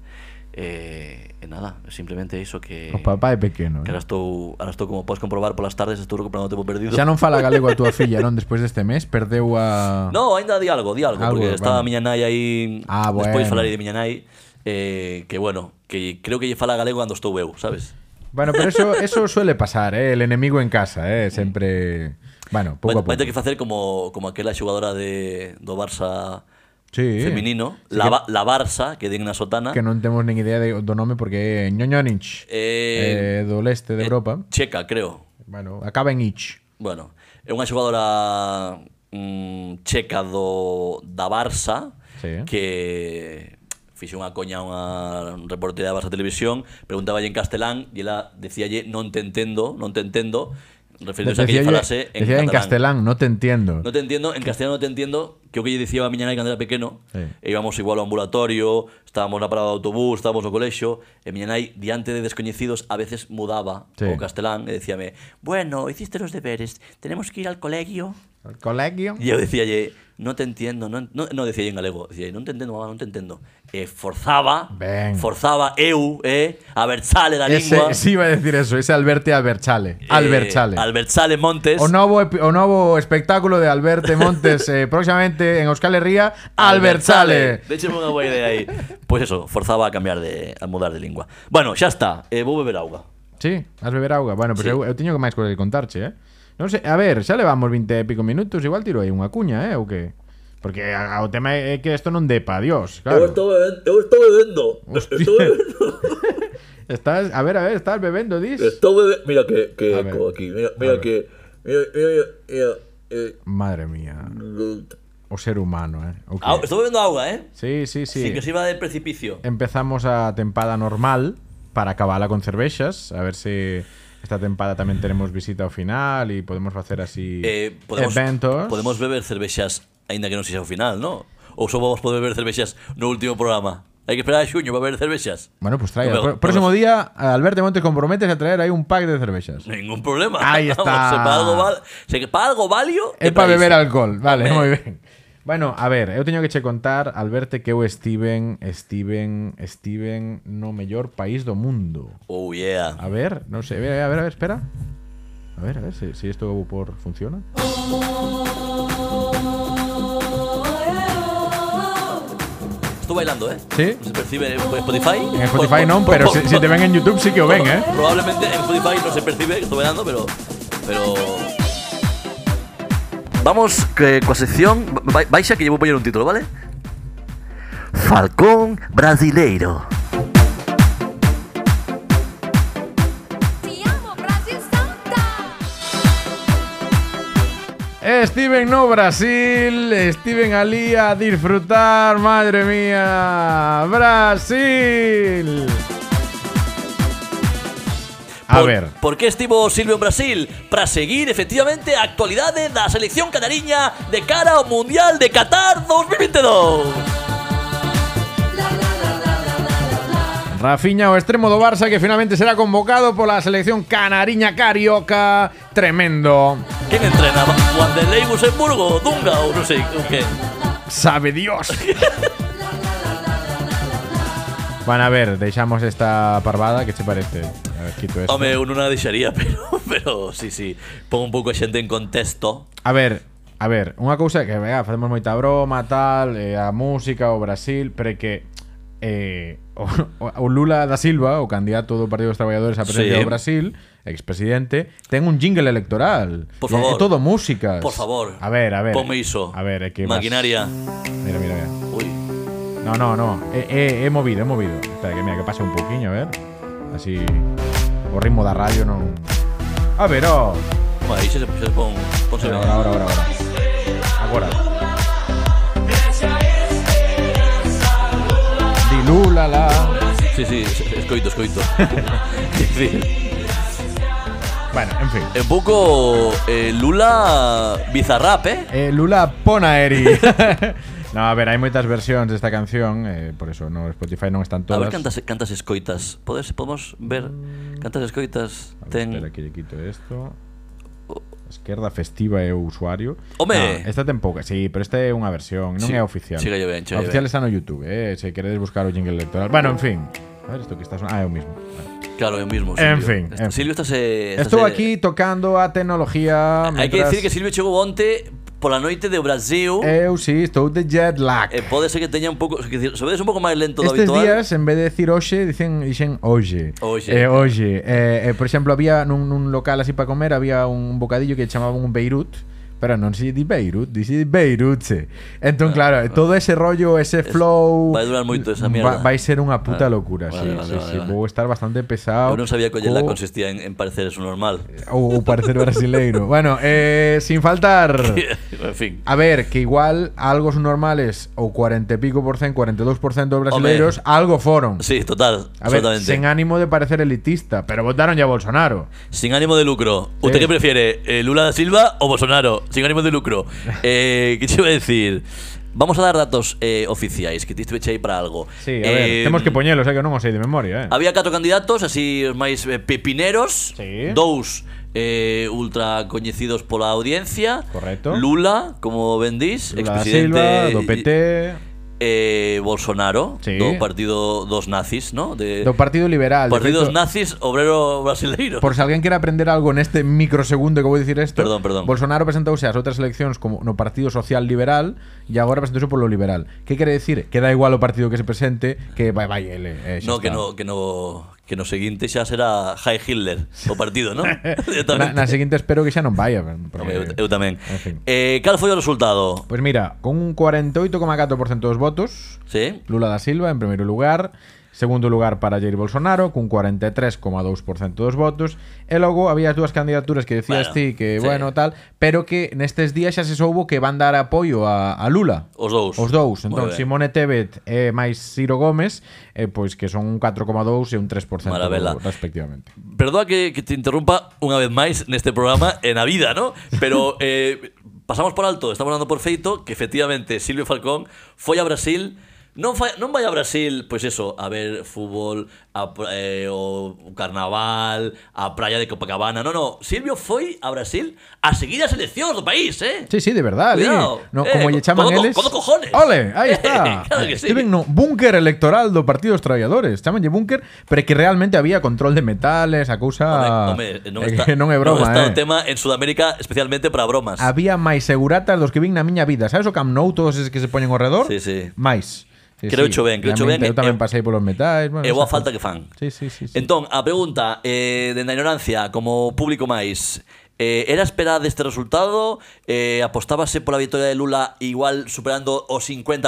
Eh, e nada, simplemente iso que O papá é pequeno. Que ahora estou, ahora estou como podes comprobar polas tardes, estou recuperando o tempo perdido. Xa non fala galego a túa filla, non? Despois deste este mes perdeu a No, ainda di algo, di algo, Algo, porque estaba vale. a miña nai aí, Ah, bueno. despois falarei de miña nai, eh, que bueno, que creo que lle fala galego cando estou eu, sabes? Bueno, pero eso eso suele pasar, eh, el enemigo en casa, eh, sempre Bueno, pouco a Vai, pouco. vai ter que facer como, como aquela xogadora de, do Barça Sí. feminino, Sí, la, que... la Barça, que din na sotana, Que non temos nin idea de, do nome porque é Ñoñonich. eh, Eh, do leste de eh, Europa. checa, creo. Bueno, acaba en Ich. Bueno, é unha xogadora mm, checa do, da Barça Sí. que fixe unha coña a unha reportera da Barça Televisión, preguntaballe en castelán e ela decíalle non te entendo, non te entendo, referindo a que lle Decíalle- falase en decía catalán. en castelán, no te entiendo. Non te entiendo, en castelán non te entiendo, que o que lle dicía a miña nai cando era pequeno, Sí. e íbamos igual ao ambulatorio, estábamos na parada do autobús, estábamos no colexo, e miña nai, diante de descoñecidos, a veces mudaba Sí. o castelán e decíame, bueno, hiciste los deberes, tenemos que ir al colegio. Al colegio. E eu decía, no te entiendo, non, non, non decía en galego, decía, non te entendo, mamá, non te entendo. E forzaba, Ben. forzaba eu, eh, a versale da lingua. Ese, sí iba a decir eso, ese Alberte Alberchale. Alberchale. Eh, Albertsale Montes. O novo, epi- o novo espectáculo de Alberto Montes eh, próximamente en Euskal Herria, Alberchale. De hecho, unha boa idea aí. Pois eso, forzaba a cambiar de a mudar de lingua. Bueno, xa está, eh, vou beber auga. Sí, has beber auga. Bueno, pues Sí. eu, eu teño que máis cousas que contarche, eh. Non sei, a ver, xa levamos 20 e pico minutos, igual tiro aí unha cuña, eh, ou que? Porque a- o tema é que isto non dé pa Dios, Eu claro. estou bebendo, eu estou bebendo. Hostia. Estou bebendo. Estás, a ver, a ver, estás bebendo, dis. Estou bebendo. Mira que, que A eco ver. aquí. Mira, mira que. Mira, mira, mira, eh, Madre mía, o ser humano, eh. O que- Au- Estou bebendo agua, ¿eh? Sí, sí, sí. Em- Sin que sirva de precipicio. Empezamos a tempada normal para acabarla con cervexas, a ver se esta tempada tamén teremos visita ao final e podemos facer así Eh, podemos, eventos. podemos beber cervexas, aínda que non sexa o final, ¿no? Ou só vamos poder beber cervexas no último programa. Hai que esperar a xuño para beber cervexas. Bueno, pues trae. Pr- Pero- próximo día, Alberto Montes comprometes a traer ahí un pack de cervezas. Ningún problema. Ahí está. Vamos, se para algo, val... se que para algo valio... É para isto. beber alcohol, vale, Hombre. moi ben. Bueno, a ver, eu teño que che contar, Alberto, que eu Steven, Steven, Steven no mellor país do mundo. Oh, yeah. A ver, non sei, a ver, a ver, a ver, espera. A ver, a ver se si, si isto por funciona. Estou bailando, ¿eh? Sí. Se percibe en Spotify. En Spotify Por- non, por- pero por- se, se te ven en YouTube sí que o ven, eh. Probablemente en Spotify no se percibe que estoy bailando, pero. Pero. Vamos que, coa sección. vai- Baixa que llevo poñer un título, ¿vale? Falcón Brasileiro. Te amo, Brasil Santa! Steven no Brasil, Steven Ali a disfrutar, madre mía, Brasil. A Por- ver, Por que estivo Silvio en Brasil? Para seguir, efectivamente, a actualidade da selección canariña de cara ao Mundial de Qatar 2022. Rafinha o extremo do Barça que finalmente será convocado pola selección canariña carioca, tremendo. ¿Quién entrena? ¿Wanderley Luxemburgo? ¿Dunga? ¿O no sé? ¿o qué? Sabe Dios. Van a ver, deixamos esta parvada, que che parece? A ver, quito esto. Home, eu non a deixaría, pero, pero sí, sí. Pon un pouco a xente en contexto. A ver, a ver, unha cousa que vea, facemos moita broma, tal, eh, a música, o Brasil, pero é que eh, o, o Lula da Silva, o candidato do Partido dos Traballadores á presidencia Sí. sí. do Brasil, expresidente, ten un jingle electoral. Por E é favor. todo músicas. Por favor. A ver, a ver. Ponme iso. A ver, é que vas- Maquinaria. Mira, mira, mira. Uy. No, no, no. He, he- he movido, he movido. Espera, que mira, que pase un poquinho, a ver. Así. O ritmo da radio non... A ver, oh. Toma, aí se, se pon... Ponse Ahora, ahora, ahora, ahora. Agora. Dilúlala. Sí, sí, es- escoito, escoito. sí. Bueno, en fin. Un pouco eh, Lula bizarrap, eh? Eh, Lula Ponaeri. no, a ver, hai moitas versións desta canción, eh, por eso no Spotify non están A todas. ver cantas, cantas escoitas. Podes, podemos ver cantas escoitas A ver, Espera ten... que lle quito esto. Esquerda festiva é o usuario. Home! No, esta tampouco, sí, pero esta é unha versión, non Sí, é oficial. siga yo ben, A siga yo oficial ben. está no YouTube, eh, se queredes buscar o jingle electoral. Bueno, en fin. A ver, isto que está son... Ah, é o mismo. Vale. Claro, eu mismo. En Silvio. fin, Está- en fin. Silvio, estás... eh, estás Estou eh, aquí tocando a tecnología. Hai que mientras- Eh. decir que Silvio chegou onte pola noite de Brasil. Eu sí, estou de jet lag. E pode ser que teña un pouco, que se vedes un pouco máis lento do Estes habitual. días, en vez de decir oxe, dicen, dicen oye. Oxe. Eh, oye. Eh, eh, por exemplo, había nun, nun local así para comer, había un bocadillo que chamaban un Beirut. Pero non se di Beirut, dice Beirutse. Ah, Entón, claro, todo ese rollo, ese flow... vai durar moito esa mierda. Ah, va- Vai ser unha puta locura, vale, sí, sí, vale, vale, sí. vale. Vou estar bastante pesado. Eu non sabía que o Yela co- consistía en, en parecer eso normal. Ou, ou parecer brasileiro. bueno, eh, sin faltar... en fin. A ver, que igual algo son normales ou 40 e pico por cento, 42 por cento dos brasileiros, algo foron. Sí, total, A ver, absolutamente. sen ánimo de parecer elitista, pero votaron ya a Bolsonaro. Sin ánimo de lucro. Sí. ¿Usted qué prefiere? eh, ¿Lula da Silva o Bolsonaro? Sin ánimo de lucro. Eh, ¿Qué te iba a decir? Vamos a dar datos eh, oficiais que te estuve aí para algo. Sí, a ver, temos que poner. poñelos, eh, que non os sei de memoria, eh. Había catro candidatos, así os máis eh, pepineros, Sí. dous eh, ultra coñecidos pola audiencia. Correcto. Lula, como vendís, Lula da Silva, expresidente do PT, eh, Bolsonaro, Sí. do partido dos nazis, ¿no? De, do Partido Liberal. de Partidos feito, nazis, obrero brasileiro. Por si alguén quere aprender algo neste microsegundo que vou dicir isto Perdón, perdón. Bolsonaro presentouse ás outras eleccións como no Partido Social Liberal E agora presentouse polo Liberal Que quere decir? Que da igual o partido que se presente Que vai, vai, ele eh, xa no, que está. no, que no, que no seguinte xa será High Hitler o partido, non? Na, na Directamente. seguinte espero que xa non vaya. eu, porque- eu tamén. En fin. Eh, cal foi o resultado? Pois mira, con un 48,4% dos votos, Sí. Lula da Silva en primeiro lugar, segundo lugar para Jair Bolsonaro cun 43,2% dos votos e logo había as dúas candidaturas que decías Bueno, ti que sí. bueno tal, pero que nestes días xa se soubo que van dar apoio a, a Lula. Os dous. Os dous, Moi entón ben. Simone Tebet e máis Ciro Gómez, eh, pois que son un 4,2 e un 3% Maravela. respectivamente. Perdoa que, que te interrumpa unha vez máis neste programa en a vida, ¿no? Pero eh, pasamos por alto, estamos dando por feito que efectivamente Silvio Falcón foi a Brasil Non, fa, non vai a Brasil, pois eso, a ver fútbol, a, pra- eh, o carnaval, a praia de Copacabana. Non, non, Silvio foi a Brasil a seguir as eleccións do país, eh? Sí, sí, de verdad. Cuidado. eh. No, Eh, como co- lle chaman codo co- eles. codo cojones. Eh, Ole, ahí está. Claro que sí. Estiven no búnker electoral do Partido dos Traballadores. Chámanlle búnker, pero é que realmente había control de metales, a cousa Home, home, non, é está, Ah, que non é broma, non está eh. o tema en Sudamérica especialmente para bromas. Había máis seguratas dos que vin na miña vida. Sabes o Camp Nou, todos eses que se poñen ao redor? Sí, sí. Mais. Sí, Creo cho ben, creo cho Realmente, Eu ben, tamén eh, pasei polos metais. Bueno, É boa esas falta que cousas. fan. Sí, sí, sí. sí. Entón, a pregunta eh, de na ignorancia como público máis eh, Era esperada este resultado? Eh, apostábase pola victoria de Lula igual superando o 50%?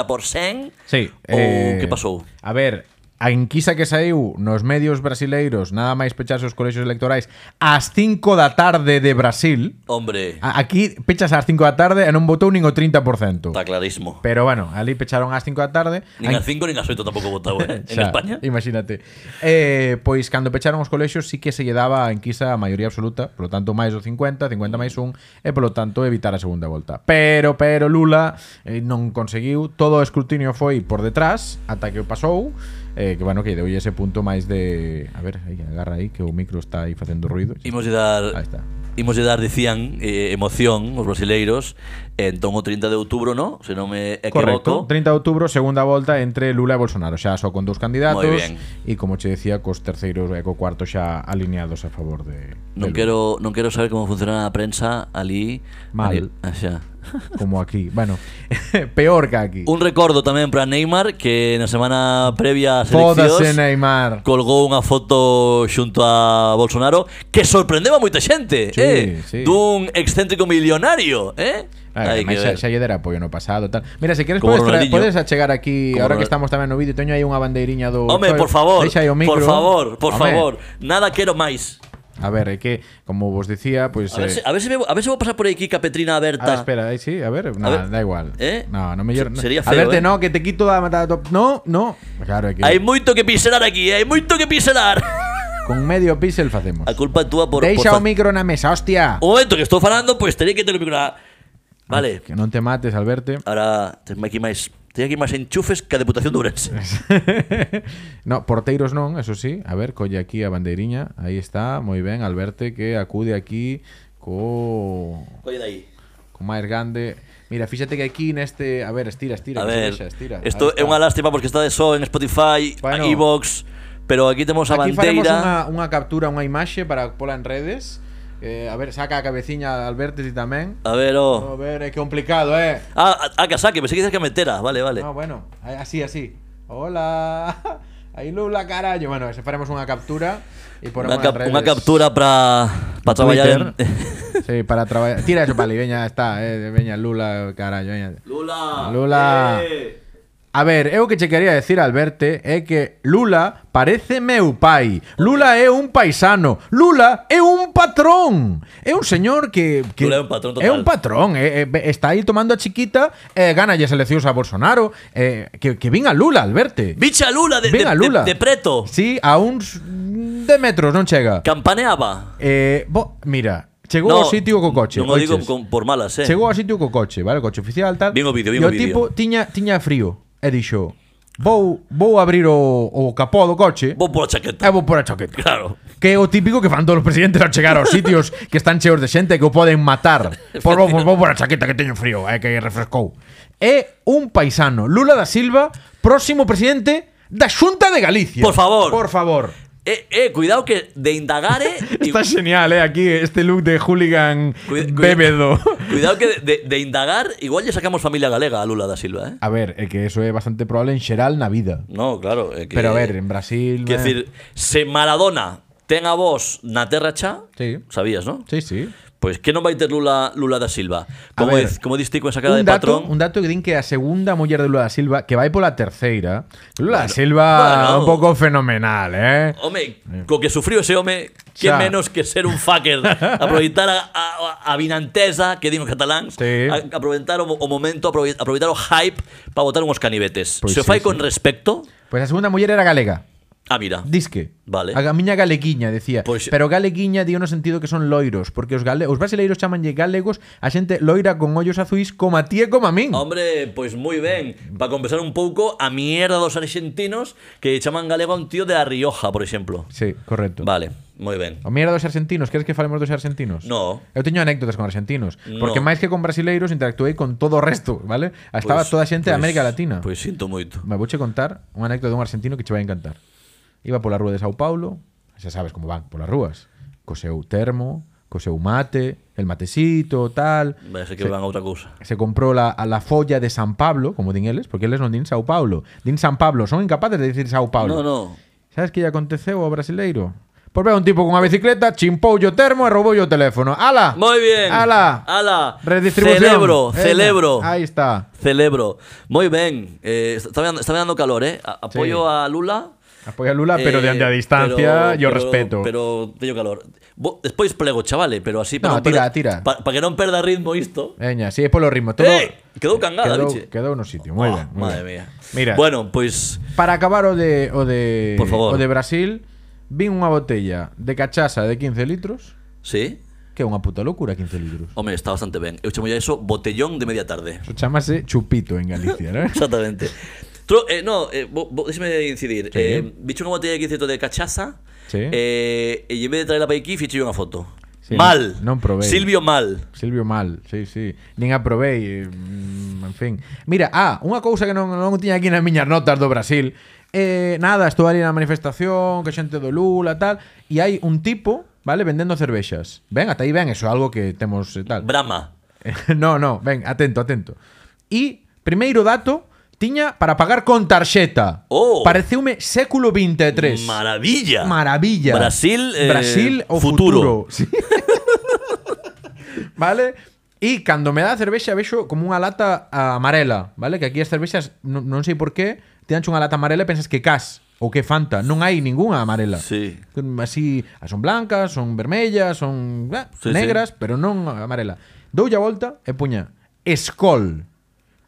Sí. Ou eh, que pasou? A ver, a enquisa que saiu nos medios brasileiros, nada máis pecharse os colexios electorais, ás 5 da tarde de Brasil, Hombre, a- aquí pechas ás 5 da tarde e non votou nin o 30%. está clarísimo Pero bueno, ali pecharon ás 5 da tarde. Nin a a 5 nin a 8 tampouco votou eh? En Xa, España Imagínate. Eh, pois cando pecharon os colexios sí que se lle daba a enquisa a maioría absoluta, polo tanto máis o 50, 50 máis un, e polo tanto evitar a segunda volta. Pero, pero Lula eh, non conseguiu, todo o escrutinio foi por detrás, ata que o pasou, eh, que bueno, que lle deu ese punto máis de... A ver, aí, agarra aí, que o micro está aí facendo ruido. Imos de dar Ahí está. Imos de dar, dicían, eh, emoción os brasileiros Eh, Entón o 30 de outubro, no? Se non me Correcto, equivoco 30 de outubro, segunda volta entre Lula e Bolsonaro Xa só con dous candidatos Moi ben. E como che decía, cos terceiros e co cuarto xa alineados a favor de, de Lula. Non quero, non quero saber como funciona a prensa ali Mal. ali- ah, Axá como aquí. Bueno, peor que aquí. Un recordo tamén para Neymar que na semana previa ás Fódase eleccións Neymar. colgou unha foto xunto a Bolsonaro que sorprendeu a moita xente, Sí, eh? sí. Dun excéntrico millonario, eh? Ah, Hai que ademais, xa, ver. xa lle dera apoio no pasado tal. Mira, se queres Como podes, tra- Ronaldinho. podes achegar aquí Como Ahora que Ronal- estamos tamén no vídeo Teño aí unha bandeiriña do Home, Choio. por favor, Deixa aí o micro. por favor, por Home, favor, nada quero máis. A ver, é que Como vos dicía, pois A ver, se, eh, a ver se veo- a ver se vou pasar por aí Kika Petrina Ah, Berta. espera, ahí sí, a ver, nada, ver. da igual. ¿Eh? No, no me llor- Se- sería a feo, verte, ¿eh? no, que te quito la matada top. No, no. Claro, é que hai moito que pincelar aquí, eh? hai moito que pincelar. con medio pixel facemos. A culpa é túa por, Deixa o por micro na mesa, hostia. Un momento que estou falando, pois terei que ter o micro na- Vale. Que non te mates, Alberto. Ahora tengo aquí más, tengo aquí más enchufes que a Deputación de Ourense. no, porteiros non, eso sí. A ver, colle aquí a bandeiriña. Aí está, moi ben, Alberte que acude aquí co Colle de aí. co máis grande. Mira, fíxate que aquí neste, a ver, estira, estira, que A se ver, deixa, estira. esto Aí é está. unha lástima porque está de só en Spotify, Bueno. en iVoox, pero aquí temos a Aquí faremos unha, bandeira. unha captura, unha imaxe para pola en redes. Eh, a ver, saca a cabeciña Albertes e tamén. A ver, A oh. ver, é complicado, eh. Ah, a, a casaque, pensei que dices que a metera, vale, vale. No, bueno, así, así. Hola. Aí Lula, carallo. Bueno, se faremos unha captura e poremos Unha, cap, nas redes. unha captura para para traballar en... sí, para traballar. Tira eso, Pali, veña, está, eh, veña, Lula, carallo, veña. Lula. Lula. eh. A ver, eu que che quería decir, Alberte, é que Lula parece meu pai. Lula é un paisano. Lula é un patrón. É un señor que... que Lula é un patrón total. É un patrón. é- é- está aí tomando a chiquita, eh, gana as eleccións a Bolsonaro. Eh, que, que vinga Lula, Alberte. Bicha Lula de, Venga, de, Lula. De, de preto. Sí, a uns de metros non chega. Campaneaba. Eh, bo, mira, chegou ao sitio co coche. Non o digo oiches? con, por malas, eh. Chegou ao sitio co coche, vale? O coche oficial, tal. Vin o vídeo, e vin o o vídeo. tipo tiña, tiña frío. E dixo, vou, vou abrir o, o capó do coche Vou pola e chaqueta. vou por a chaqueta. Claro. Que é o típico que fan todos os presidentes ao chegar aos sitios que están cheos de xente que o poden matar. Por vou, vou por a chaqueta que teño frío, é que refrescou. É un paisano, Lula da Silva, próximo presidente da Xunta de Galicia. Por favor. Por favor. Eh, eh, cuidado que de indagare... Está genial, eh, aquí este look de hooligan Cuida- cuida- bébedo. Cuidado que de, de- de indagar, igual ya sacamos familia galega a Lula da Silva, ¿eh? A ver, é que eso é bastante probable en xeral na vida. No, claro. é que- Pero a ver, en Brasil... eh, Quer decir, se Maradona ten a vos na terra cha, Sí. sabías, ¿no? Pues, Sí, sí. Pois que non vai ter Lula, Lula da Silva? Como, ver, diz, como diste con esa cara un de dato, patrón? Un dato que din que a segunda muller de Lula da Silva, que vai pola terceira, Lula da Silva bueno. un pouco fenomenal, eh? Home, co que sufriu ese home, que Xa. menos que ser un fucker. aproveitar a, a, a vinantesa, que din os cataláns, Sí. a, aproveitar o, mo- o momento, aprove- aproveitar o hype para botar uns canivetes. Pois Se o sí, fai Pues sí. con respecto, Pois a Pues segunda muller era galega. ah, mira. Disque. Vale. Pues- A miña galeguiña, decía. Pois- Pero galeguiña dio no sentido que son loiros, porque os, gale, os brasileiros chamanlle galegos a xente loira con ollos azuis como a ti e como a min. Hombre, pois moi ben Para compensar un pouco a mierda dos argentinos Que chaman galego a un tío de A Rioja, por exemplo Sí, correcto. Vale, moi ben O mierda dos argentinos, queres que falemos dos argentinos? No. Eu teño anécdotas con argentinos, No. porque máis que con brasileiros interactuei con todo o resto, vale? Estaba Pois- toda a xente de pois- América Latina. Pois sinto pues, moito Me vouche contar unha anécdota dun argentino que che vai encantar. Iba pola rúa de Sao Paulo, xa sabes como van polas rúas, co seu termo, co seu mate, el matecito, tal. Vai ser que van a outra cousa Se comprou la, a la folla de San Pablo, como din eles, porque eles non din Sao Paulo. Din San Pablo, son incapaces de dicir Sao Paulo. No, no Sabes que lle aconteceu ao brasileiro? Por ver un tipo cunha bicicleta, chimpoulle o termo e rouboulle o teléfono. ¡Ala! Moi bien ¡Ala! Ala Redistribución. Celebro, Venga, celebro Ahí está. Celebro Moi ben eh, está, me dando, está me dando calor, eh A- Sí. Apoio a Lula Apoia a Lula, Ah, pero eh, de ande a distancia e o pero- respeto. Pero teño calor Bo, Despois plego, chavale Pero así para No, non perder- tira, tira. Para pa que non perda ritmo isto Veña, sí, é polo ritmo. Todo, Eh, quedou cangada, quedou, biche quedou no sitio, moi ben. Ah, moi Madre ben. mía Mira, Bueno, pues, pois para acabar o de o de Por o favor. de Brasil, vin unha botella de cachaza de 15 litros, Sí que é unha puta loucura 15 litros. Home, está bastante ben Eu chamo a eso botellón de media tarde Eso chamase chupito en Galicia, ¿no? Exactamente. Tro- eh, no, eh, bo- bo- déxeme incidir. Sí. Eh, bicho unha botella de 15 de cachaza. Sí. Eh, e en vez de traerla para aquí, fichei unha foto. Sí, mal. non probei. Silvio mal. Silvio mal, sí, sí. Nin aprobei, eh, mm, en fin. Mira, ah, unha cousa que non, non tiña aquí nas miñas notas do Brasil. Eh, nada, estou ali na manifestación, que xente do Lula, tal, e hai un tipo, vale, vendendo cervexas. Ben, ata aí ben, eso é algo que temos eh, tal. Eh, Brahma. no, no, ven, atento, atento. E primeiro dato, tiña para pagar con tarxeta. Oh. Pareceume século e 23. Maravilla. Maravilla. Brasil, eh, Brasil o futuro. futuro. Sí. vale? E cando me dá a cervexa vexo como unha lata ah, amarela, vale? Que aquí as cervexas, non, non sei por qué, te danche unha lata amarela e pensas que cas ou que Fanta. Non hai ningunha amarela. Sí. Así, ah, son blancas, son vermellas, son ah, Sí, negras, pero non amarela. Doulle a volta e puña Skol.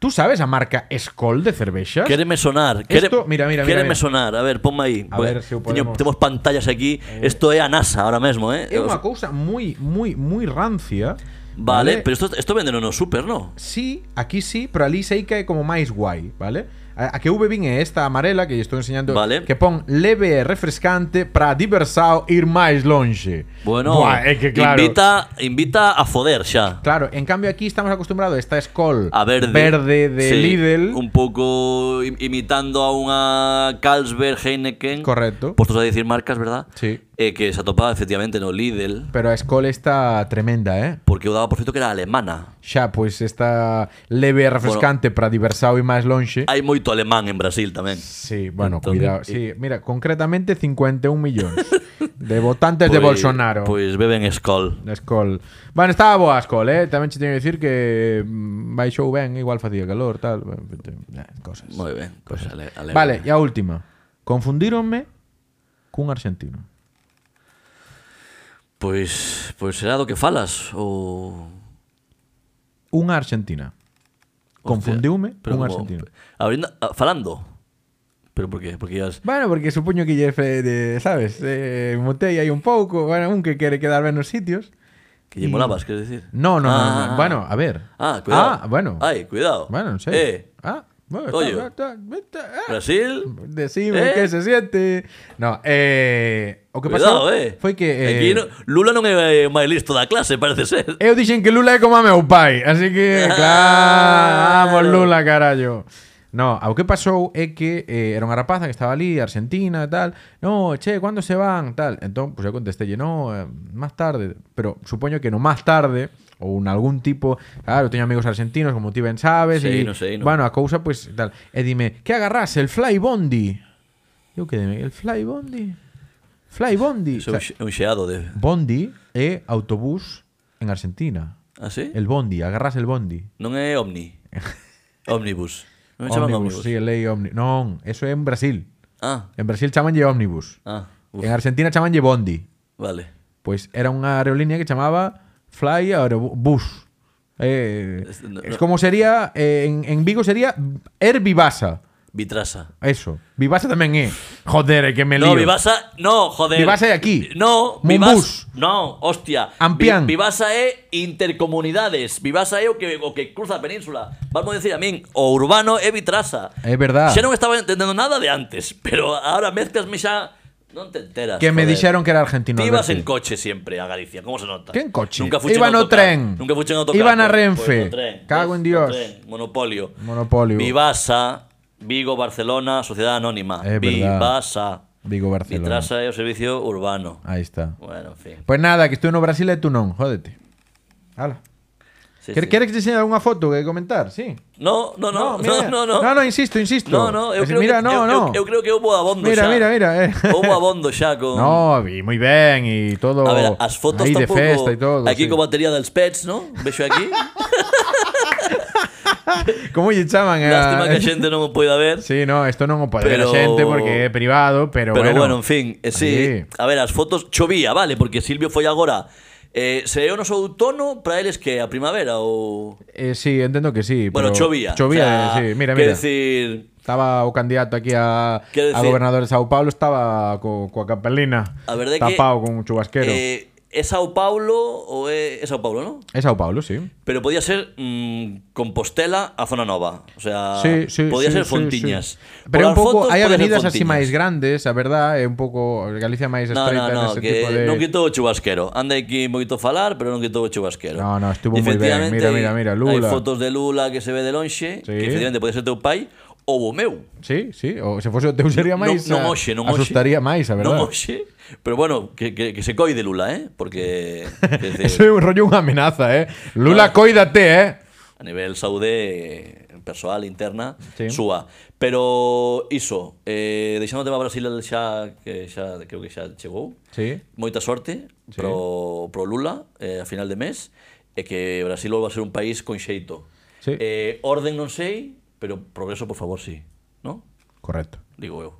Tú sabes a marca Skol de cervexas? Quéreme sonar. Esto- mira, mira, mira, Quéreme mira. sonar. A ver, ponme aí. A ver se o podemos- Eh. Tenemos pantallas aquí. Esto é a NASA ahora mesmo, eh? É unha Os- cousa moi, moi, moi rancia. Vale, pero esto, esto venden no super, ¿no? Sí, aquí sí, pero ali sei que é como máis guai, vale? A, a que eu bebín é esta amarela que lle estou enseñando Vale. que pon leve e refrescante para diversao ir máis lonxe. Bueno, Buah, é que claro. invita, invita a foder xa. Claro, en cambio aquí estamos acostumbrados a esta Skol a verde. verde de Sí, Lidl. Un pouco im- imitando a unha Carlsberg Heineken. Correcto. Postos a dicir marcas, verdad? Sí. Eh, que se atopaba efectivamente no Lidl. Pero a Skol está tremenda, eh? Porque eu daba por feito que era alemana. Xa, pois está leve e refrescante para diversao ir máis lonxe. Hai moito alemán en Brasil tamén. Sí, bueno, Entón, cuidado. eh, Sí, mira, concretamente 51 millóns de votantes de Pois- Bolsonaro. Pois beben Skol. Da Skol. Bueno, estaba boa a Skol, eh? Tamén che teño que dicir que mm, baixou ben, igual facía calor, tal, bueno, eh, cosas. Moi ben. Pois ale, ale, Vale, e a última. Confundíronme cun argentino. Pois, pois será do que falas ou Unha argentina. Confundiume pero cun como- argentino. Abrindo, a- falando. Pero por qué? Porque ya Bueno, porque supoño que lle fe de, sabes, eh, motei aí un pouco, bueno, un que quere quedar ben nos sitios. que lle Y- molabas, queres decir? Mm. No, no, Ah, no, no. Bueno, a ver. Ah, cuidado. Ah, bueno. Ay, cuidado. Bueno, non sei. Eh, Ah, bueno, Oye. está- está- está- ah. Brasil. Decime Eh? que se siente. No, eh, o que pasou Cuidado, eh. foi que eh, Aquí no- Lula non é o máis listo da clase, parece ser. eu dixen que Lula é como a meu pai, así que claro, vamos Lula, carallo. No, ao que pasou é que eh, era unha rapaza que estaba ali, argentina e tal. No, che, cando se van? Tal. Entón, pois pues, eu contestelle, no, eh, máis tarde. Pero supoño que no máis tarde ou en algún tipo, claro, teño amigos argentinos como ti ben sabes e Sí, non sei, non. bueno, a cousa pois pues, tal. E dime, que agarrase el fly bondi? Eu quedeme, el fly bondi. Fly bondi. Eso é un xe- un xeado de... Bondi é autobús en Argentina. Ah, sí? El bondi, agarras el bondi. Non é Omni. Omnibus. Non me chaman Omnibus. sí, el lei omni. Non, eso é en Brasil. Ah, En Brasil chamanlle ómnibus. ah. uf, En Argentina chamanlle bondi. Vale. Pois era unha aerolínea que chamaba Fly Aerobus. Eh, Es- no- es no- como sería eh, en, en Vigo sería Air Vivasa. Vitrasa. Eso. Vivasa tamén é. Joder, é que me lío. No, Vivasa, no, joder. Vivasa é aquí. No, Mumbús. Vivasa. No, hostia. Ampián. Vi- Vivasa é intercomunidades. Vivasa é o que, o que cruza a península. Vamos a decir a min, o urbano é Vitrasa. É verdad. Xa non estaba entendendo nada de antes, pero ahora mezclasme xa non te enteras. Que me joder. dixeron que era argentino. Ti Alberto. ibas en coche siempre a Galicia, ¿cómo se nota? ¿Qué en coche? Nunca fuche Iba en no autocar. tren. Nunca fuche en autocar. Iban a Pues- Renfe. pues no tren. Cago en No Dios. tren. Monopolio. Monopolio. Vivasa, Vigo, Barcelona, Sociedad Anónima. Es verdad. Vivasa. Vigo Barcelona. Vitrasa é o servicio urbano. Ahí está. Bueno, en fin. Pues nada, que estuve en Brasil y tú no, jódete. Hala. Sí, ¿Quer- sí. ¿Quieres que te enseñe alguna foto que comentar? Sí. No, no, no, no, mira. no, no. no, insisto, insisto. No, no, eu Es- creo mira, que, no, eu, no. Eu, eu creo que houve abondo Mira, xa. mira, mira, eh. Houve abondo xa con No, vi muy bien y todo. A ver, as fotos ahí tampouco... de festa y todo. Aquí sí. con batería dels pets, ¿no? Vexo aquí. ¿Cómo le echaban? eh? Lástima que a xente non o poida ver. Sí, no, esto no puede ver a Pero- gente porque es privado, pero, Pero bueno. bueno, en fin, eh, sí. Aí. A ver, as fotos chovía, vale, porque Silvio foi agora. Eh, se é o noso outono, para eles que a primavera ou Eh, sí, entiendo que sí. Bueno, pero- chovía. Chovía, O sea, sí. Mira, quero mira. decir, Estaba o candidato aquí a, Quero a decir- gobernador de Sao Paulo, estaba co, coa capelina a verdade que tapado con un chubasquero. Eh, é Sao Paulo ou é, é Sao Paulo, ¿no? Es Sao Paulo, sí. Pero podía ser mm, Compostela a zona nova, o sea, Sí, sí, Ah, podía sí, ser sí, Fontiñas. sí. Pero é un Polas pouco fotos, hai podía ser avenidas así Fontiñas. máis grandes, a verdad, é un pouco Galicia máis No, estreita no, no, nese que tipo de non quitou o chubasquero. Anda aquí un poquito falar, pero non quitou o chubasquero. No, no, estuvo moi E ben. efectivamente Mira, mira, mira, Lula. Hai fotos de Lula que se ve de Sí. lonxe, que efectivamente pode ser teu pai ou o meu. Sí, sí, o se fose o teu sería máis non, non a- hoxe, non hoxe. asustaría máis, a Non verdad. hoxe, pero bueno, que, que, que se coide Lula, eh? Porque quer Eso é dizer, un rollo unha amenaza, eh. Lula, coídate, eh. a nivel saúde persoal interna Sí. súa. Pero iso, eh, deixando o tema Brasil xa que xa creo que xa chegou. Sí. moita sorte Sí. pro, pro Lula eh, a final de mes e que Brasil volva a ser un país con xeito. Sí. Eh, orden non sei, pero progreso, por favor, sí. ¿No? Correcto. Digo eu.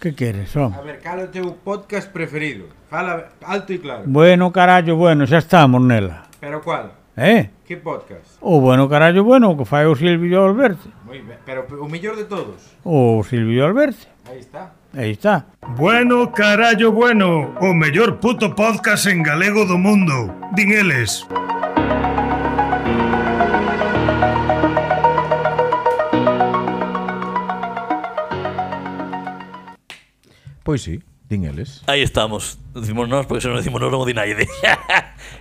¿Qué quieres, hombre? ver, cal é o teu podcast preferido? Fala alto e claro. Bueno, carallo, bueno, ya estamos, Nela. Pero cual? ¿Eh? Que podcast? O bueno, carallo, bueno, o que fai o Silvio Alberti. Moi ben, pero o mellor de todos. O Silvio Alberti. Aí está. Ahí está. Bueno, carallo, bueno, o mellor puto podcast en galego do mundo. Din eles. Pois Pues sí, din eles. Aí estamos. Dicimos nós, porque se non decimos nós non o dinaide.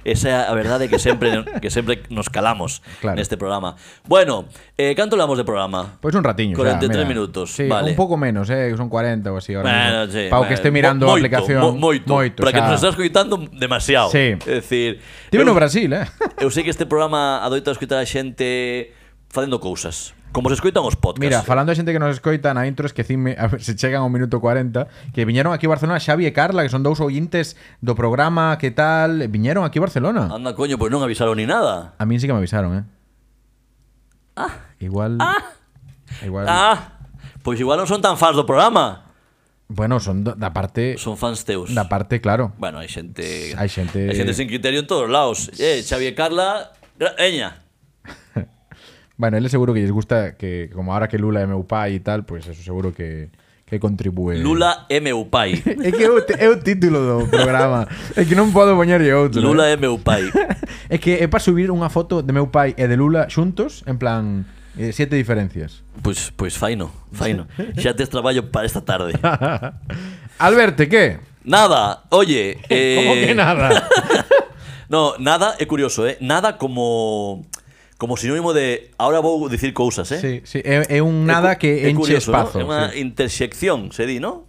Esa é a verdade que sempre que sempre nos calamos Claro. neste programa. Bueno, eh, canto lamos de programa? Pois Pues un ratiño, xa, 43 mira. minutos, Sí, un vale. pouco menos, eh, son 40 ou así ahora. Bueno, mismo. sí, eh, Pau bueno, que esté mirando a mo- aplicación. moito, mo- moito, para que xa. nos estás coitando demasiado. Sí. É dicir, Tive eu- no Brasil, eh. Eu sei que este programa adoita escoitar a xente facendo cousas. Como se escoitan os podcasts. Mira, falando de xente que nos escoita na intro, esquecime, a ver se chegan ao minuto 40, que viñeron aquí a Barcelona Xavi e Carla, que son dous ointes do programa, que tal, e viñeron aquí a Barcelona. Anda, coño, pois non avisaron ni nada. A min sí que me avisaron, eh. Igual... Igual... Ah, pois igual non son tan fans do programa. Bueno, son do- da parte... Son fans teus. Da parte, claro. Bueno, hai xente... Hai xente- Hai xente sin criterio en todos lados. Eh, Xavi e Carla... gra- Eña. Bueno, eles seguro que lles gusta que, como ahora que Lula é meu pai e tal, pues eso seguro que, que contribúe. Lula é meu pai. É que é o, te- é o título do programa. É que non podo poñerlle outro. eh. Lula é meu pai. É que é para subir unha foto de meu pai e de Lula xuntos, en plan, eh, siete diferencias. Pois, pois Pues, faino, faino. Xa tes traballo para esta tarde. Alberte, que? Nada, oye... Eh, Como que nada? No, nada, é curioso, eh? Nada como como sinónimo de ahora vou dicir cousas, eh? Sí, sí, é, é un nada cu- que é enche curioso, espazo. ¿no? É unha sí. intersección, se di, ¿no?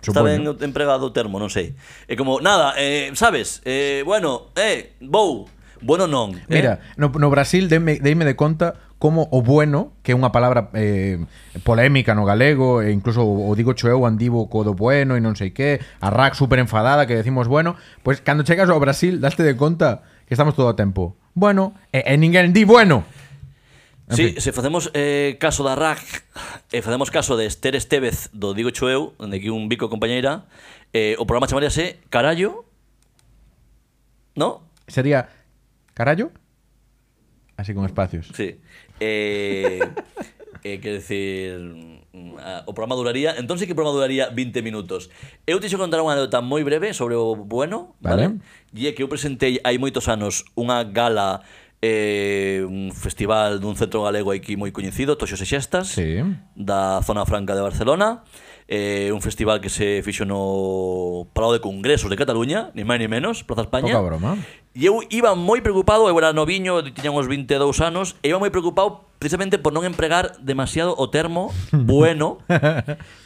Está Supoño. ben empregado o termo, non sei. É como, nada, eh, sabes, eh, bueno, eh, vou, Bueno non. eh? Mira, no, no Brasil deime, deime de conta como o bueno, que é unha palabra eh, polémica no galego, e incluso o, o digo cho eu andivo co do bueno e non sei que, a RAC super enfadada que decimos bueno, pois pues, cando chegas ao Brasil daste de conta que estamos todo o tempo. Bueno, e, e ninguén di bueno. En Sí, fin. se facemos eh, caso da RAG e facemos caso de Esther Estevez do Digo Choeu, onde aquí un bico compañeira, eh, o programa chamaríase Carallo, no? Sería carallo así con espacios. Sí. Eh, eh, quero dicir, mm, a- o programa duraría, entón sí que o programa duraría 20 minutos. Eu te contar unha anécdota moi breve sobre o bueno, Vale. vale? E é que eu presentei hai moitos anos unha gala eh, un festival dun centro galego aquí moi coñecido, Toxos e Xestas, Sí. da zona franca de Barcelona, eh, un festival que se fixo no Palau de Congresos de Cataluña, ni máis ni menos, Plaza España. Poca broma. E eu iba moi preocupado, eu era noviño, tiña uns 22 anos, e iba moi preocupado precisamente por non empregar demasiado o termo bueno.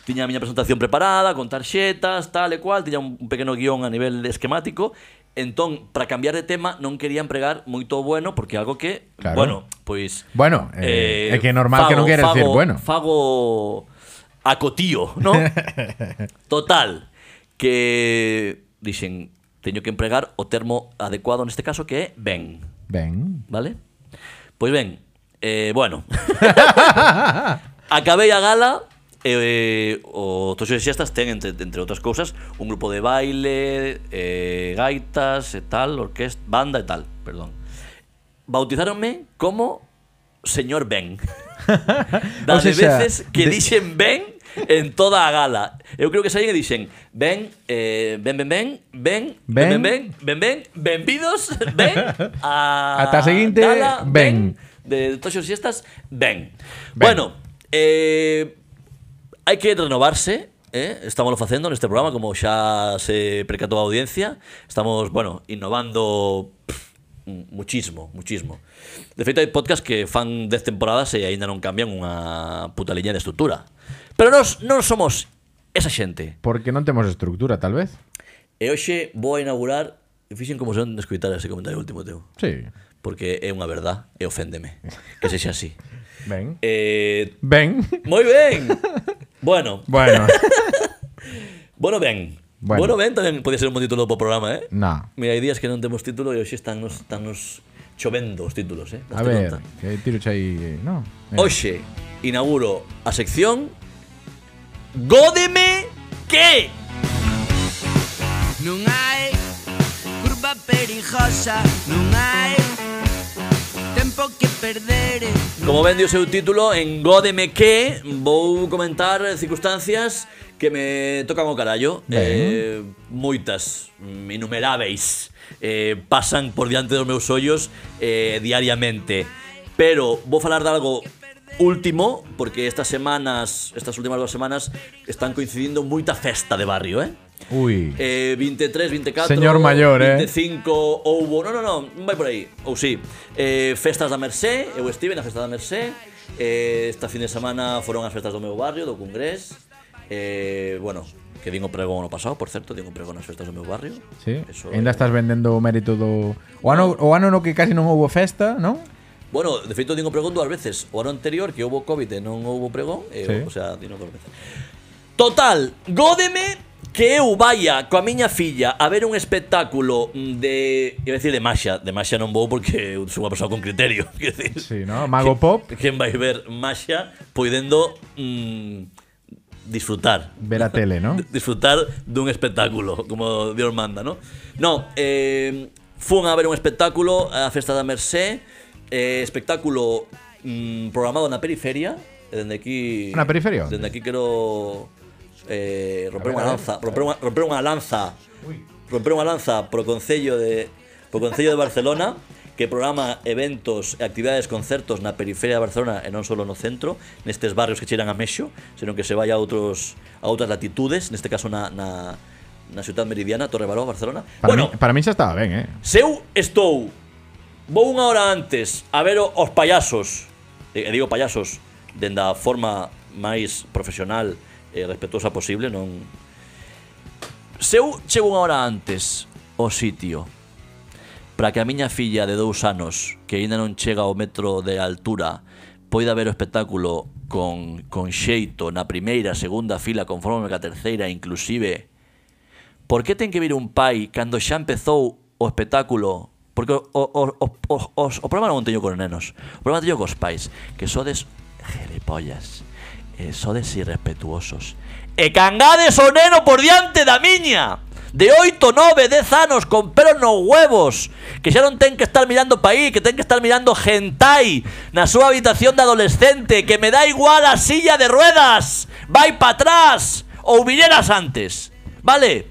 tiña a miña presentación preparada, con tarxetas, tal e cual, tiña un un pequeno guión a nivel esquemático. Entón, para cambiar de tema, non quería empregar moito o bueno, porque é algo que, Claro. bueno, pois... Bueno, eh, é que é normal que non queres fago- decir bueno. Fago acotío, ¿no? Total, que dixen, teño que empregar o termo adecuado neste caso que é ben, Ben. vale? Pois ben, eh, bueno. Acabei a gala e eh, o Toxo de Xestas ten, entre, entre outras cousas, un grupo de baile, eh, gaitas e tal, orquesta, banda e tal, perdón. Bautizáronme como Señor Ben. O Das de sea, veces que de- dixen Ben en toda a gala. Eu creo que saín e dixen Ben, eh, ben, ben, ben, ben, ben, ben, Ben. ben, ben, ben, benvidos, ben, a Ata a seguinte, gala, ben. ben. Ah, de Toxos Siestas, ben. Ben. Bueno, eh, hai que renovarse, eh? estamos facendo neste programa, como xa se percatou a audiencia, estamos, bueno, innovando pff, muchismo, muchismo. De feito, hai podcast que fan 10 temporadas e aínda non cambian unha puta liña de estrutura. Pero nós non somos esa xente. Porque non temos estructura, tal vez. E hoxe vou a inaugurar, e fixen como son de escutar ese comentario último teu. Sí. Porque é unha verdad e oféndeme Que sexa así Ben. eh, Ben. Moi ben Bueno, Bueno, bueno ben Bueno. Bueno, ben tamén podía ser un bon título do programa, eh? na. Mira, hai días que non temos título e hoxe están nos, están nos chovendo os títulos, eh? A Daste ver, conta. que tiro xa aí, eh, no. Eh, Hoxe inauguro a sección Gódeme que Non hai curva perigosa, non hai tempo que perder. Como vende o seu título en Gódeme que vou comentar circunstancias que me tocan o carallo eh, moitas, mm, inumeráveis eh, pasan por diante dos meus ollos eh, diariamente pero vou falar de algo último porque estas semanas estas últimas dúas semanas están coincidindo moita festa de barrio eh Ui. Eh, 23, 24 Señor maior, eh. 25 houbo Non, non, non, vai por aí Ou si, eh, festas da Mercé Eu estive na festa da Mercé eh, Esta fin de semana foron as festas do meu barrio Do Congrés eh, Bueno, que din o pregón ano pasado, por certo Din o pregón nas festas do meu barrio Sí. Eso Ainda é- estás vendendo o mérito do o ano o ano no que casi non houbo festa, non? Bueno, de feito din o pregón dúas veces O ano anterior que houbo Covid e non houbo pregón e, Sí. O sea, dino dúas veces Total, gódeme que eu vaya coa miña filla a ver un espectáculo de... Iba a decir de Masha, de Masha non vou porque eu sou unha persoa con criterio. quero Decir, Sí, no? Mago Pop, Quen vai ver Masha podendo mm, disfrutar ver a tele, non? disfrutar dun espectáculo, como Dios manda, ¿no? No, eh, fun a ver un espectáculo a Festa da Mercé, eh, espectáculo mm, programado na periferia, e dende aquí... Na periferia, onde? Dende aquí quero eh, romper A ver, unha a ver. lanza, romper unha, romper unha lanza, romper unha lanza pro Concello de, pro Concello de Barcelona, que programa eventos e actividades, concertos na periferia de Barcelona e non só no centro, nestes barrios que chegan a Mexo, senón que se vai a outros a outras latitudes, neste caso na, na, na ciudad meridiana, Torre Baró, Barcelona. Para, mí, bueno, para mí xa estaba ben, eh. se eu estou vou unha hora antes a ver o- os payasos, e e digo payasos dende a forma máis profesional e respetuosa posible, non Se eu chego unha hora antes ao sitio para que a miña filla de dous anos que aínda non chega ao metro de altura poida ver o espectáculo con, con xeito na primeira, segunda fila, conforme que a terceira, inclusive. Por que ten que vir un pai cando xa empezou o espectáculo? Porque o, o, o, o, o- os, o problema non o teño con nenos, o problema teño cos pais, que sodes gilipollas, e sodes irrespetuosos. E cangades o neno por diante da miña! De 8, 9, 10 anos con pelo nos huevos Que xa non ten que estar mirando paí Que ten que estar mirando hentai Na súa habitación de adolescente Que me dá igual a silla de ruedas Vai pa atrás Ou viñeras antes Vale?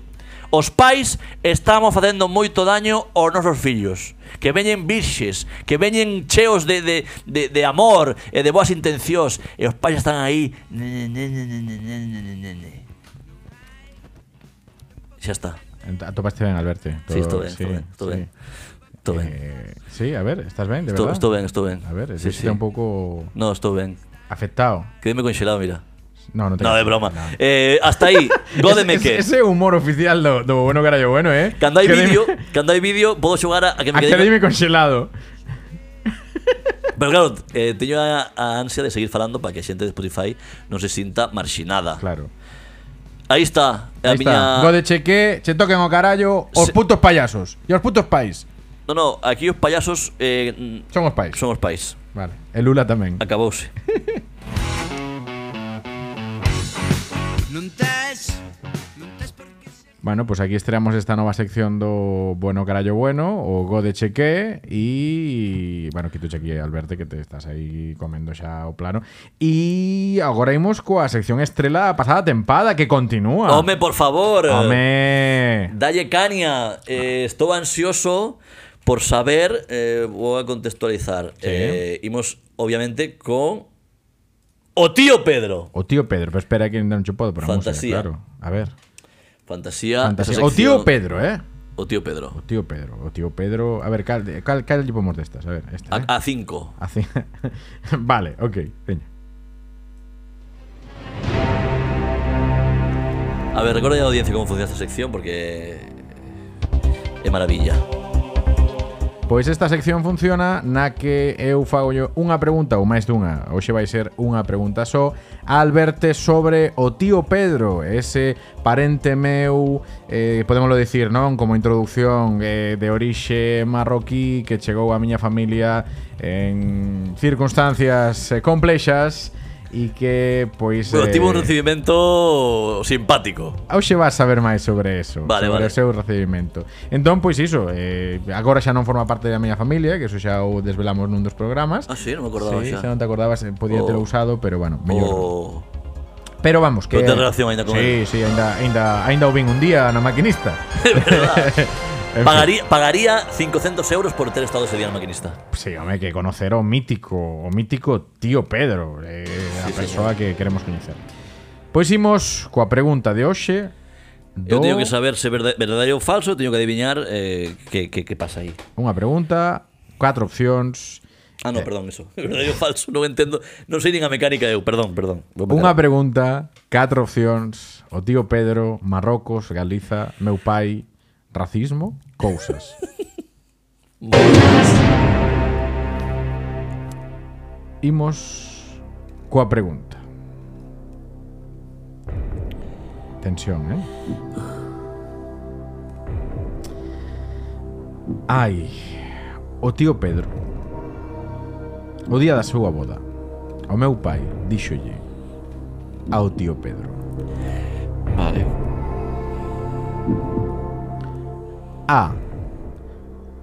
Os pais estamos facendo moito daño aos nosos fillos Que veñen virxes, que veñen cheos de, de, de, de amor e de boas intencións E os pais están aí ne, ne, ne, ne, ne, ne, ne, ne, ne, ne. Xa está, Ent- Atopaste bien, Alberto. si, sí, estou ben, estou ben, estou ben Estou ben, Eh, sí, a ver, ¿estás bien? De estou verdad. estou ben, estou ben A ver, Sí, sí, sí. un poco No, estou ben afectado. Quedeme conxelado, mira No, no te No, creas. de broma No. eh, Hasta aí, gódeme Ese- que Ese humor oficial do, do bueno que era yo bueno, ¿eh? Cando hai Que dime- vídeo, cando hai vídeo, podo xogar a, a que me A quede quedarme congelado. Pero claro, eh, teño a, a ansia de seguir falando para que a xente de Spotify non se sinta marxinada. Claro. Aí está a Ahí está. miña Go de cheque, che toquen o carallo, os Se- putos payasos. Y os putos pais. No, no, aquí os payasos eh, mm, Son os pais. son os pais. Vale. El Lula también. Acabouse. Non tes, non tes por que ser Bueno, pues aquí estreamos esta nueva sección do Bueno Carallo Bueno o Go de Cheque y bueno, que tú cheque Alberto que te estás aí comendo xa o plano. E agora imos coa sección estrela da pasada tempada que continúa. Home, por favor. Home. Dalle caña. Ah. Eh, estou ansioso por saber, eh, vou a contextualizar. Sí. Eh, imos, obviamente, con o tío Pedro. O tío Pedro, pero espera que non che podo pero Fantasía. claro. A ver. Fantasía. Fantasía. esa O tío sección. Pedro, eh? O tío Pedro. O tío Pedro, o tío Pedro. A ver, cal, cal, cal lle pomos destas? A ver, esta, eh? A, a cinco. Así. vale, ok, veña. A ver, recuerda a la audiencia cómo funciona esta sección porque é maravilla. Pois esta sección funciona na que eu fago yo unha pregunta ou máis dunha, hoxe vai ser unha pregunta só, a Alberte sobre o tío Pedro, ese parente meu, eh, podemoslo dicir, non? Como introducción eh, de orixe marroquí que chegou á miña familia en circunstancias eh, complexas e que, pois... eh, Bueno, tivo un recibimiento simpático. Hoxe vas saber máis sobre eso Vale, Sobre vale. o seu recibimento Entón, pois iso eh, Agora xa non forma parte da miña familia Que iso xa o desvelamos nun dos programas Ah, sí, non me acordaba sí, xa. Oh. xa non te acordabas eh, Podía O- telo usado, pero bueno mellor. O Pero vamos, que Non ten relación aínda con Sí, sí, aínda, aínda, aínda o vin un día na maquinista En fin. pagaría, pagaría 500 euros por ter estado ese día en maquinista. Sí, home, que conocer o mítico, o mítico tío Pedro, eh, a persoa que queremos coñecer. Pois imos coa pregunta de hoxe Eu do- teño que saber se é verda- verdadeiro ou falso, teño que adivinar eh, que, que, que pasa aí. Unha pregunta, catro opcións, Eh. Ah, no, perdón, eso. Verdadeiro ou falso, non entendo. Non sei nin a mecánica eu, perdón, perdón. Vou Unha parar. pregunta, catro opcións, o tío Pedro, Marrocos, Galiza, meu pai, racismo, cousas. Imos coa pregunta. Tensión, eh? Ai, o tío Pedro. O día da súa boda, o meu pai díxolle ao tío Pedro. Vale. A.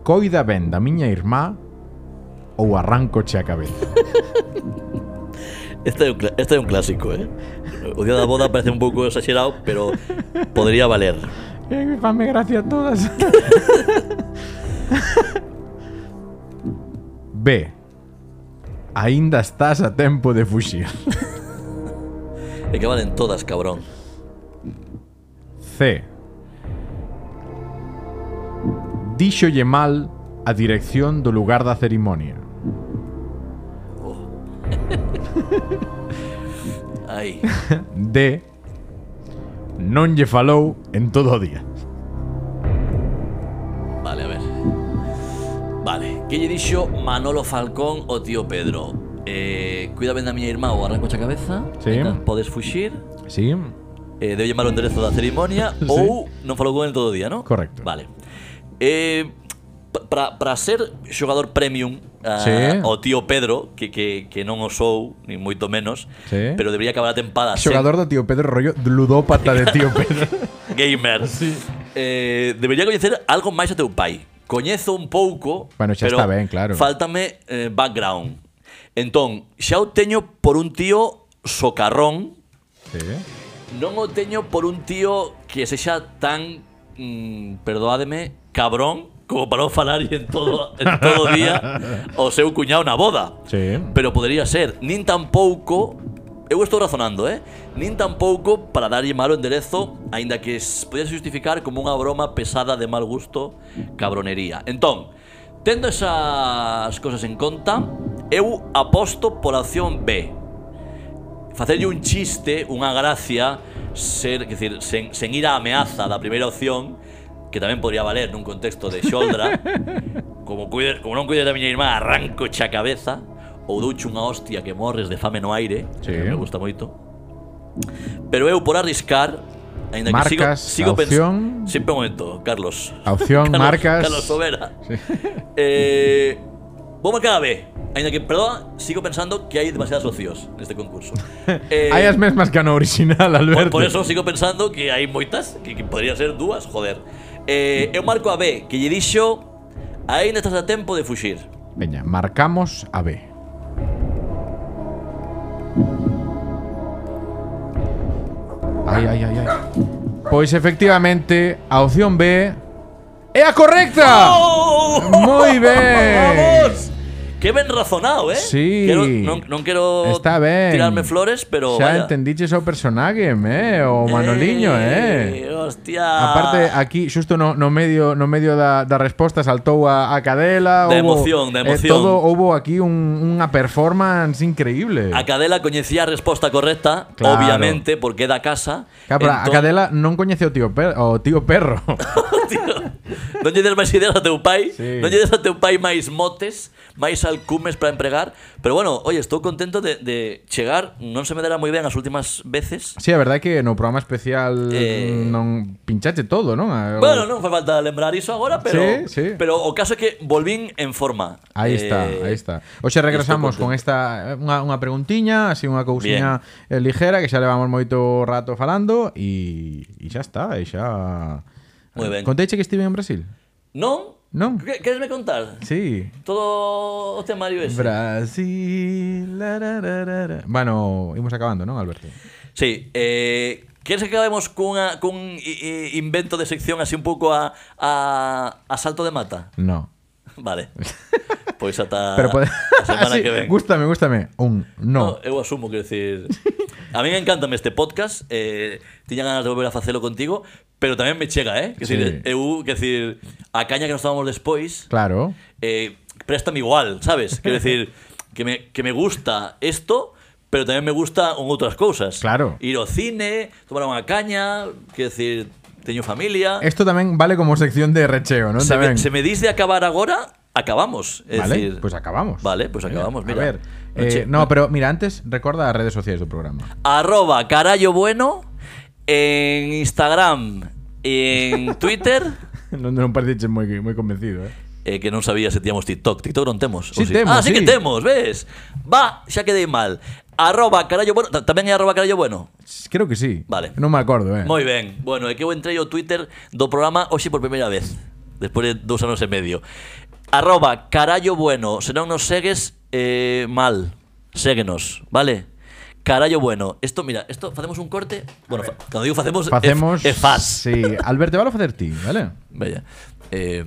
Coida ben da miña irmá ou arrancoche a cabeza. Este é un, cla- este é un clásico, eh. O día da boda parece un pouco exagerado, pero podría valer. Eh, fame gracia a todas. B. Aínda estás a tempo de fuxir. E que valen todas, cabrón. C. Díxolle mal a dirección do lugar da cerimonia. Ai. D. Non lle falou en todo o día. Vale, a ver. Que lle dixo Manolo Falcón o tío Pedro eh, Cuida ben da miña irmá ou arranco a cabeza Sí. Eta, Podes fuxir Sí. eh, Deu llamar o enderezo da cerimonia Sí. Ou non falou con el todo o día, non? Correcto. Vale eh, Para ser xogador premium a, Sí. O tío Pedro que, que, que non o sou, ni moito menos Sí. Pero debería acabar a tempada sen- Xogador do tío Pedro rollo ludópata de tío Pedro. gamer. Eh, debería coñecer algo máis a teu pai. Coñezo un pouco, Bueno, xa pero está ben, claro. Fáltame eh, background. Entón, xa o teño por un tío socarrón, sí. non o teño por un tío que sexa tan, mm, perdoádeme, cabrón, como para non falar en todo, en todo o día o seu cuñado na boda. Sí. Pero podría ser, nin tampouco Eu estou razonando, eh? Nin tampouco para darlle malo enderezo Ainda que s- podíase justificar como unha broma pesada de mal gusto Cabronería Entón, tendo esas cosas en conta Eu aposto pola opción B Facerlle un chiste, unha gracia Ser, que decir, sen, sen ir á ameaza da primeira opción Que tamén podría valer nun contexto de xoldra Como, cuide, como non cuide da miña irmá, arranco xa a cabeza Ou douche unha hostia que morres de fame no aire Sí. que Me gusta moito Pero eu por arriscar Ainda Marcas, que a sigo, sigo opción. pensando Sempre un momento, Carlos A opción, Carlos, marcas. Carlos Sobera eh, Vou marcar a B Ainda que, perdón, sigo pensando que hai demasiadas opcións neste este concurso eh, Hai as mesmas que no original, Por, Alberto. por eso sigo pensando que hai moitas que, que podría ser dúas, joder. Eh, eu marco a B, que lle dixo aínda estás a tempo de fuxir. Veña, marcamos a B. Ai, ai, ai, ai. Pois Pues efectivamente, a opción B é a correcta. Moi ben. ¡Oh! Vamos. Que ben razonado, eh? Sí. Quero, non, non quero Está ben. tirarme flores, pero Xa vaya. entendiches o personaje, eh, o Manoliño, eh. Hostia. Aparte, aquí, xusto no, no medio no medio da, da resposta saltou a, a cadela Da houbo- emoción, eh, da emoción. todo houbo aquí un- unha performance increíble A Cadela coñecía a resposta correcta, Claro. obviamente, porque é da casa. Claro, pero a entón- cadela non coñece o tío, per, o tío perro Non lle des máis ideas a teu pai Sí. Non lle des a teu pai máis motes Máis alcumes para empregar Pero bueno, oye, estou contento de, de chegar Non se me dará moi ben as últimas veces Si, sí, a verdade é que no programa especial Eh. Non pinchache todo, non? A- o- Bueno, non fai falta lembrar iso agora Pero, Sí, sí. pero o caso é que volvín en forma Aí Eh, está, aí está. Hoxe regresamos con esta eh, unha, unha preguntiña, así unha cousiña eh, lixera que xa levamos moito rato falando e, e xa está, e xa Moi ben. Conteiche que estive en Brasil? Non? Non. Que- Queresme contar? Sí. Todo o temario ese Brasil. la, ra, ra, ra, ra. Bueno, imos acabando, non, Alberto? Sí, eh, queres que acabemos cunha, cun i- i- invento de sección así un pouco a, a, a salto de mata? No. Vale. Pues Pois ata Pero pode... Ah, a semana Sí, que ven. Gústame, gústame. Un no. No, eu asumo, quero decir... A mí me encanta este podcast, eh, tiña ganas de volver a facelo contigo, pero tamén me chega, eh? Que Sí. decir, eu, que decir, a caña que nos tomamos despois, Claro. eh, préstame igual, sabes? Quero decir, que me, que me gusta isto, pero tamén me gusta outras cousas. Claro. Ir ao cine, tomar unha caña, quero decir, teño familia. Isto tamén vale como sección de recheo, non? se, me, Tamén. se me dis de acabar agora, acabamos. É Vale, decir, pues acabamos. Vale, pues acabamos, mira. A ver, eh, Noche- no, pero mira, antes recorda as redes sociais do programa. arroba carallo bueno en Instagram e en Twitter non, non pareciche moi moi convencido, eh. eh, que non sabía se tiñamos TikTok TikTok non temos ou Sí, temos, ah, sí, que sí. temos, ves va, xa quedei mal arroba carallo bueno ta- tamén é arroba carallo bueno Creo que sí. Vale. Non me acordo, eh. moi ben, bueno, é que eu entrei o Twitter do programa hoxe por primeira vez despois de dous anos e medio arroba carallo bueno se non nos segues, eh, mal séguenos, vale? Carallo bueno, esto, mira, esto facemos un corte. Bueno, fa- cando digo facemos, é- Facemos é Pues faz. Sí, Alberto, valo facer ti, vale? Vaya. Eh,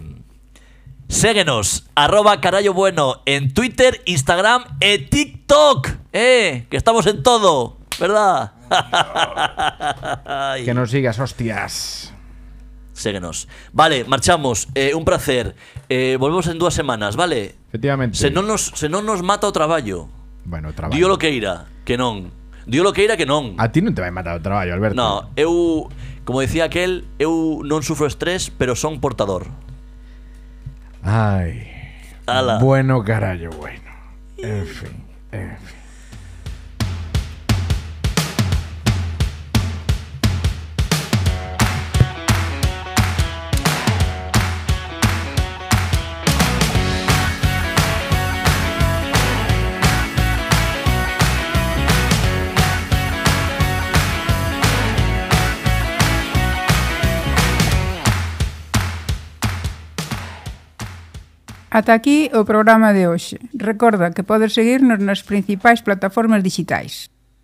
séguenos, arroba carallo bueno en Twitter, Instagram e TikTok. Eh, que estamos en todo, ¿verdad? Ay. Que nos sigas, hostias. Séguenos. Vale, marchamos. Eh, un placer. Eh, volvemos en dúas semanas, ¿vale? Efectivamente. Se non nos, se non nos mata o traballo. Bueno, traballo. Dio lo que irá, que non. Dio lo que irá, que non. A ti non te vai matar o traballo, Alberto. No, eu, como decía aquel, eu non sufro estrés, pero son portador. Ai. Ala. Bueno, carallo, bueno. En fin, en fin. Ata aquí o programa de hoxe. Recorda que podes seguirnos nas principais plataformas digitais.